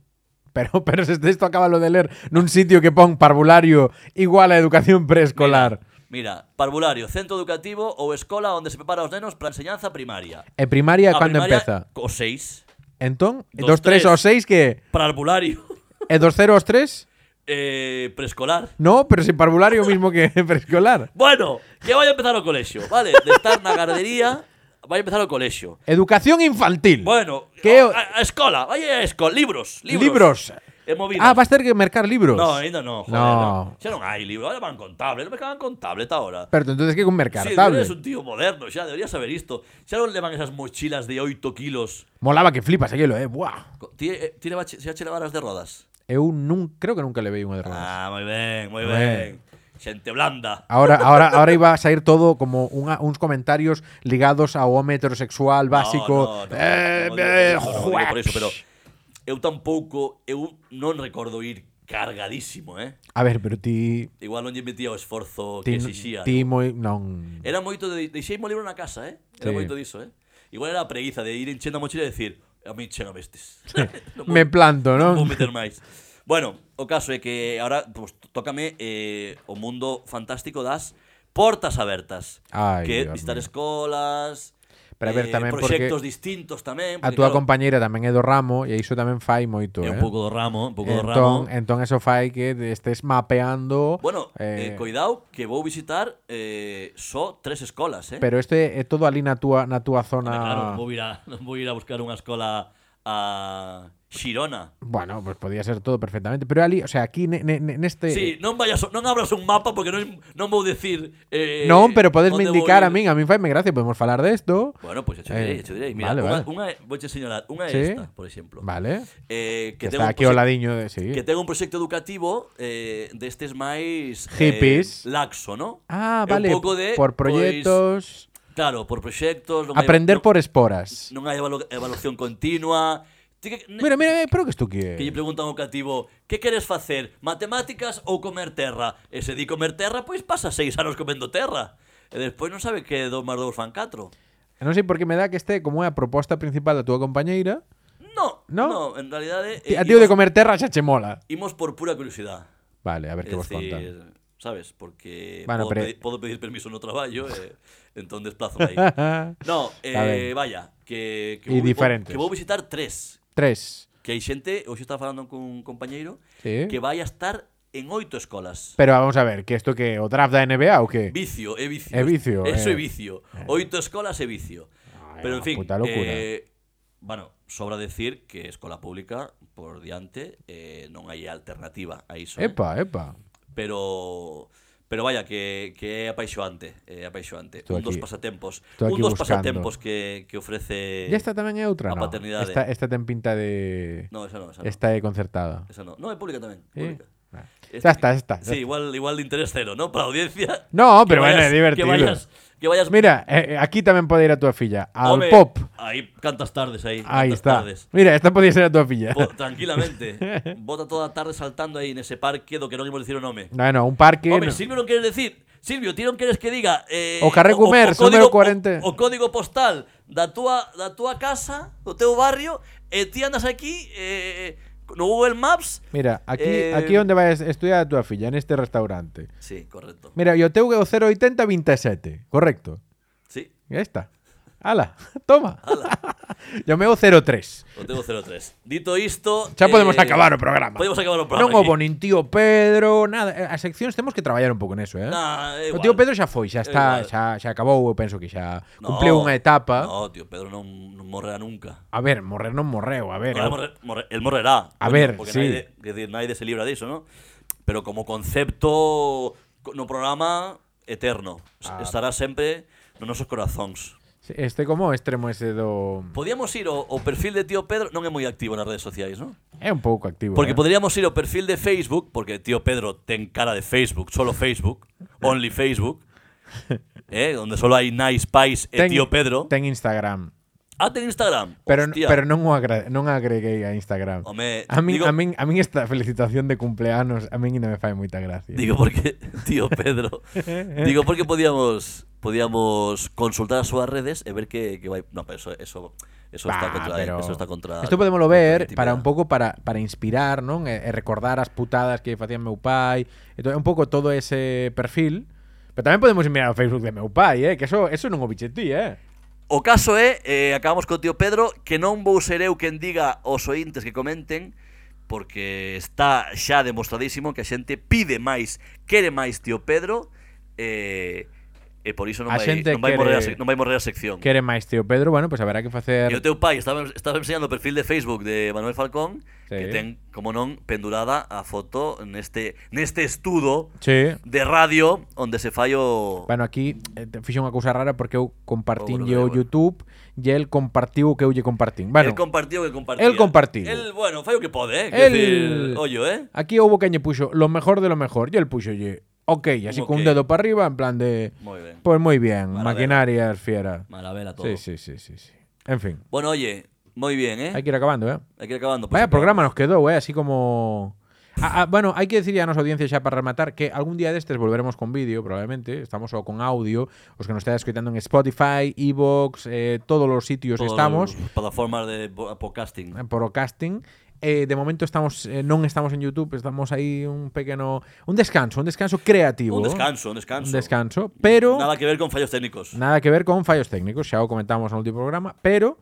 A: Pero, pero se isto acaba lo de ler nun sitio que pon parvulario igual a educación preescolar.
B: Mira, parvulario, centro educativo ou escola onde se prepara os nenos para a enseñanza primaria.
A: E primaria
B: A
A: cando
B: primaria,
A: empeza?
B: O 6.
A: Entón, dos 3
B: dos tres.
A: aos 6 que
B: Parvulario. *laughs*
A: é? E dos 0 aos 3?
B: Eh, preescolar.
A: No, pero se parvulario é o mismo que *laughs* preescolar.
B: Bueno, que vai a empezar o colexio, vale? De estar na gardería, vai a empezar o colexio.
A: Educación infantil.
B: Bueno,
A: Que
B: a,
A: o-
B: a- a escola, vai a escola, libros, libros.
A: libros.
B: E movidas.
A: Ah, vas ter que mercar libros.
B: No, ainda non, joder,
A: No.
B: no. Xa non hai libros, ahora van con tablet, non me cagan con tablet ahora.
A: Pero tú entonces que con mercar
B: Sí, tú
A: tablet.
B: eres un tío moderno, xa deberías saber isto. Xa non levan esas mochilas de 8 kilos.
A: Molaba que flipas aquilo, eh. Buah.
B: Co- Ti, eh, ti leva, xa che levaras de rodas.
A: Eu nun, creo que nunca le veí unha de rodas.
B: Ah, moi ben, moi
A: Moi
B: ben. Xente blanda.
A: Ahora, ahora, ahora iba a sair todo como unha, uns comentarios ligados ao home heterosexual básico.
B: No, no, no,
A: eh,
B: no, no,
A: eh,
B: no, no, no,
A: jueps.
B: digo por eso, pero eu tampouco, eu non recordo ir cargadísimo, eh?
A: A ver, pero ti...
B: Igual non lle metía o esforzo
A: Ti,
B: que exixía.
A: ti moi... Non...
B: Era moito de deixei mo libro na casa, eh? Era
A: Sí.
B: moito diso, eh? Igual era a preguiza de ir enchendo a mochila e decir, a mí chega bestes. *laughs* non vou,
A: Me planto,
B: non vou
A: non?
B: meter máis. Bueno, o caso é que ahora pues, tócame eh, o mundo fantástico das portas abertas.
A: Ai,
B: que
A: Dios
B: visitar
A: mío.
B: escolas, eh,
A: Pero a ver, tamén porque
B: proxectos distintos tamén.
A: A
B: porque,
A: túa
B: claro,
A: compañeira tamén é do ramo e iso tamén fai moito,
B: É
A: eh?
B: un pouco do ramo, un pouco do ramo.
A: entón, entón eso fai que te estés mapeando...
B: Bueno,
A: eh,
B: eh, coidado que vou visitar eh, só tres escolas, eh?
A: Pero este é todo ali na túa, na túa zona...
B: Home, Claro, non vou, ir a, *laughs* non vou ir a buscar unha escola a Xirona.
A: Bueno, pues podía ser todo perfectamente. Pero ali, o sea, aquí ne- ne- este ne- neste...
B: Sí, non vayas, non abras un mapa porque non, non vou decir eh,
A: non, pero podesme
B: onde vou
A: indicar a
B: ir.
A: min, a min faime gracia, podemos falar de esto.
B: Bueno, pois pues,
A: Eh,
B: direi, echo direi. Mira,
A: vale,
B: unha,
A: vale.
B: unha é- vouche señalar, unha é
A: Sí.
B: esta, por exemplo.
A: Vale.
B: Eh,
A: Que,
B: que,
A: está
B: ten
A: aquí o ladiño de... Sí.
B: que ten un proxecto educativo eh, destes máis
A: Hippies.
B: eh, laxo, ¿no?
A: Ah,
B: É
A: vale.
B: Un pouco de
A: por
B: pois,
A: proyectos...
B: claro, por proxectos, non hai-
A: aprender
B: non-
A: por esporas.
B: non hai evalu- evaluación continua. Ti que-
A: Mira, mira, eh, pero que isto que...
B: Que lle preguntan ao cativo Que queres facer, matemáticas ou comer terra? E se di comer terra, pois pasa seis anos comendo terra E despois non sabe que dos máis dous fan catro
A: Non sei por que me dá que este como é a proposta principal da túa compañeira.
B: No,
A: No?
B: no, en realidade
A: Ti-
B: eh,
A: A tío de
B: imos-
A: comer terra xa che mola.
B: Imos por pura curiosidade
A: Vale, a ver que
B: É
A: vos contan.
B: dicir, sabes, porque
A: Bueno,
B: podo,
A: pero-
B: pedir, podo pedir permiso no traballo
A: *laughs*
B: e entón desplázome aí
A: Ah.
B: No,
A: Está
B: eh,
A: ben.
B: vaya, que, que,
A: E
B: vou,
A: diferentes.
B: que vou visitar tres
A: Tres.
B: Que hai xente, hoxe estaba falando cun compañeiro
A: Sí.
B: Que vai a estar en oito escolas
A: Pero vamos a ver, que isto que o draft da NBA ou que?
B: Vicio, é vicio.
A: É vicio, eh.
B: Eso é vicio. Oito escolas é vicio.
A: Ai,
B: Pero
A: a
B: en fin,
A: puta locura.
B: eh, bueno, sobra decir que escola pública por diante eh, non hai alternativa a iso. eh.
A: Epa, epa.
B: Pero pero vaya que que é apaixoante, é apaixoante.
A: Estou
B: un dos
A: aquí-
B: pasatempos,
A: estou
B: un
A: aquí
B: dos
A: buscando.
B: pasatempos que que ofrece
A: E esta tamén é outra,
B: a
A: non?
B: paternidade.
A: Esta, esta ten pinta de...
B: No, esa non, esa non.
A: Esta é concertada.
B: Esa non. No, é pública tamén,
A: Sí.
B: pública.
A: Eh. Ah.
B: Este
A: Ya está, ya está. ya
B: Sí, igual, igual de interés cero, ¿no? Para la audiencia.
A: No, pero
B: Que
A: bueno,
B: vayas-
A: es divertido.
B: Que vayas, que vayas-
A: está. Mira, eh, eh, aquí también puede ir a tu filla. Al
B: Hombre,
A: pop.
B: Ahí cantas tardes ahí.
A: Ahí
B: cantas
A: está.
B: tardes.
A: Mira, esta podría ser a tu filla. *laughs*
B: Bo- tranquilamente. Bota toda la tarde saltando ahí en ese parque do que non imos dicir o nome.
A: No, no, un parque. no.
B: Home, Silvio non queres decir. Silvio, ti non queres que diga eh,
A: O carré Comercio, número 40.
B: O, o código postal da túa, da túa casa, do teu barrio, e ti andas aquí eh, no Google Maps.
A: Mira, aquí,
B: Eh,
A: aquí onde vais estudiar a túa filla, en este restaurante.
B: Sí, correcto.
A: Mira, e o teu é o 080 27, correcto.
B: Sí,
A: Ya está. Ala, *laughs* toma.
B: ala,
A: *laughs* Yo me o 03.
B: o teu 03. Dito isto... eh,
A: Xa podemos acabar o programa.
B: Podemos acabar o programa.
A: Non houbo nin tío Pedro, nada. Eh, As seccións temos que traballar un pouco neso, eh?
B: Nah, é
A: o
B: igual.
A: tío Pedro xa foi, xa está,
B: igual.
A: xa, xa acabou, eu penso que xa cumpliu unha etapa.
B: No, tío, Pedro non, non morrerá nunca.
A: A ver, morrer non morreu, a ver.
B: Ahora
A: eu-
B: morre- morre- él morrerá.
A: A ver,
B: porque
A: sí.
B: Nadie, que decir, nadie se libra de eso, ¿no? Pero como concepto, co- no programa eterno. S-
A: Ah.
B: Estará siempre en nuestros corazones.
A: Este como extremo ese do...
B: Podíamos ir o, o perfil de tío Pedro, no es muy activo en las redes sociales, ¿no?
A: É un pouco activo.
B: Porque
A: eh?
B: podríamos ir o perfil de Facebook, porque tío Pedro ten cara de Facebook, solo
A: *laughs*
B: Facebook, only Facebook, ¿eh? donde solo hay nice pies e
A: Ten-
B: tío Pedro.
A: Ten Instagram.
B: Ah, ten Instagram.
A: Pero,
B: Hostia.
A: pero non, o agra- non agreguei a Instagram.
B: Home,
A: a, min,
B: digo-
A: a, min, a min esta felicitación de cumpleanos a min ainda me fai moita gracia.
B: Digo porque, *laughs* tío
A: *laughs*
B: Pedro, digo porque podíamos podíamos consultar a súas redes e ver que, que vai... No, pero eso, eso, eso está
A: Bah,
B: contra... eh,
A: pero-
B: Eso está contra...
A: Isto podemoslo
B: contra a
A: ver
B: intimidade.
A: para un pouco para, para inspirar, non? E, e recordar as putadas que facían meu pai, e to, un pouco todo ese perfil. Pero tamén podemos ir mirar o Facebook de meu pai, eh? Que eso, eso non o biche ti, eh?
B: O caso é, eh, acabamos co tío Pedro, que non vou ser eu quen diga aos ointes que comenten, porque está xa demostradísimo que a xente pide máis, quere máis tío Pedro, eh, e por iso
A: A
B: non vai,
A: xente
B: non vai, morrer, a,
A: quere-
B: sec- non vai morrer a sección.
A: Quere máis tío Pedro, bueno, pois pues haberá que
B: E o
A: facer...
B: teu pai estaba, estaba enseñando o perfil de Facebook de Manuel Falcón
A: Sí.
B: Que ten, como non, pendurada a foto neste, neste este estudo
A: Sí.
B: de radio Onde se fallo...
A: Bueno, aquí eh, te- fixo unha cousa rara porque eu compartinlle o
B: Oh, bueno,
A: YouTube e el compartiu o que eu lle compartín. Bueno,
B: el compartido que compartía
A: el compartido.
B: El, bueno, fallo que pode, eh que
A: El-
B: decir, Ollo, eh
A: aquí houbo quen lle puxo lo mejor de lo mejor e el puxolle ok, así
B: Un
A: con un
B: ok.
A: dedo para arriba en plan de...
B: Moi ben
A: Pues moi bien,
B: Maravilla.
A: maquinarias fiera.
B: Maravela todo
A: Sí, sí, sí, sí, sí. En fin,
B: Bueno, oye, moi bien, eh
A: hai que ir acabando, eh?
B: Hay que ir acabando pues,
A: Vaya programa nos
B: acabamos.
A: quedou, eh? Así como... Ah, ah, bueno, hai que decir a nosa audiencia xa para rematar que algún día destes volveremos con vídeo, probablemente. Estamos só con audio. Os que nos estáis escoitando en Spotify, Evox, eh, todos os sitios
B: Todas
A: estamos.
B: as Plataformas de po- podcasting
A: eh, por o casting. Eh, de momento estamos eh, non estamos en YouTube, estamos aí un pequeno un descanso, un descanso creativo.
B: Un descanso, un
A: Un
B: descanso
A: descanso, pero nada,
B: Nada que ver con fallos técnicos
A: que ver con fallos técnicos, xa o comentamos no último programa, pero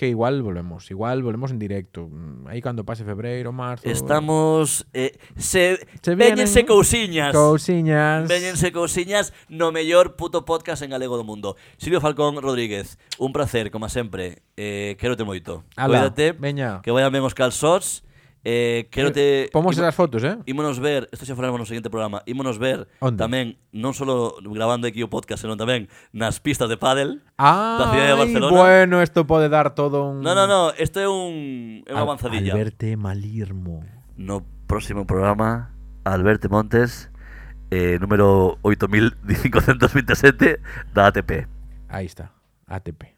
A: que igual volvemos, igual volvemos en directo, mm, aí cando pase febreiro, marzo.
B: Estamos. Eh, se,
A: Se vienen
B: véñense cousiñas.
A: Cousiñas.
B: Véñense cousiñas no mellor puto podcast en galego do mundo. Silvio Falcón Rodríguez, un placer, como sempre. Eh, quérote moito.
A: Ala,
B: Cuídate.
A: veña.
B: Que vayan ben os calzots. Eh, quérote.
A: Pomos
B: imo-
A: esas fotos, eh?
B: Ímonos ver, isto xa faremos no seguinte programa, ímonos ver
A: Onde?
B: tamén, non só grabando aquí o podcast, senón tamén nas pistas de pádel da cidade
A: Ah,
B: de Barcelona.
A: bueno, isto pode dar todo un
B: No, no, no, isto é un, é
A: Mm. Al-
B: unha avanzadilla.
A: Alberto Malirmo.
B: no próximo programa Alberto Montes eh, número 8527 da ATP.
A: Ahí está. ATP.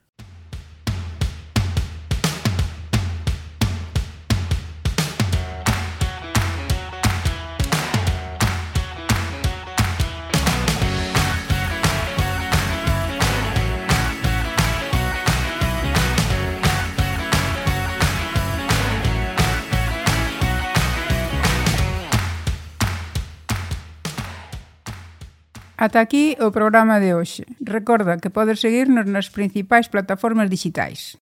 D: Ata aquí o programa de hoxe. Recorda que podes seguirnos nas principais plataformas digitais.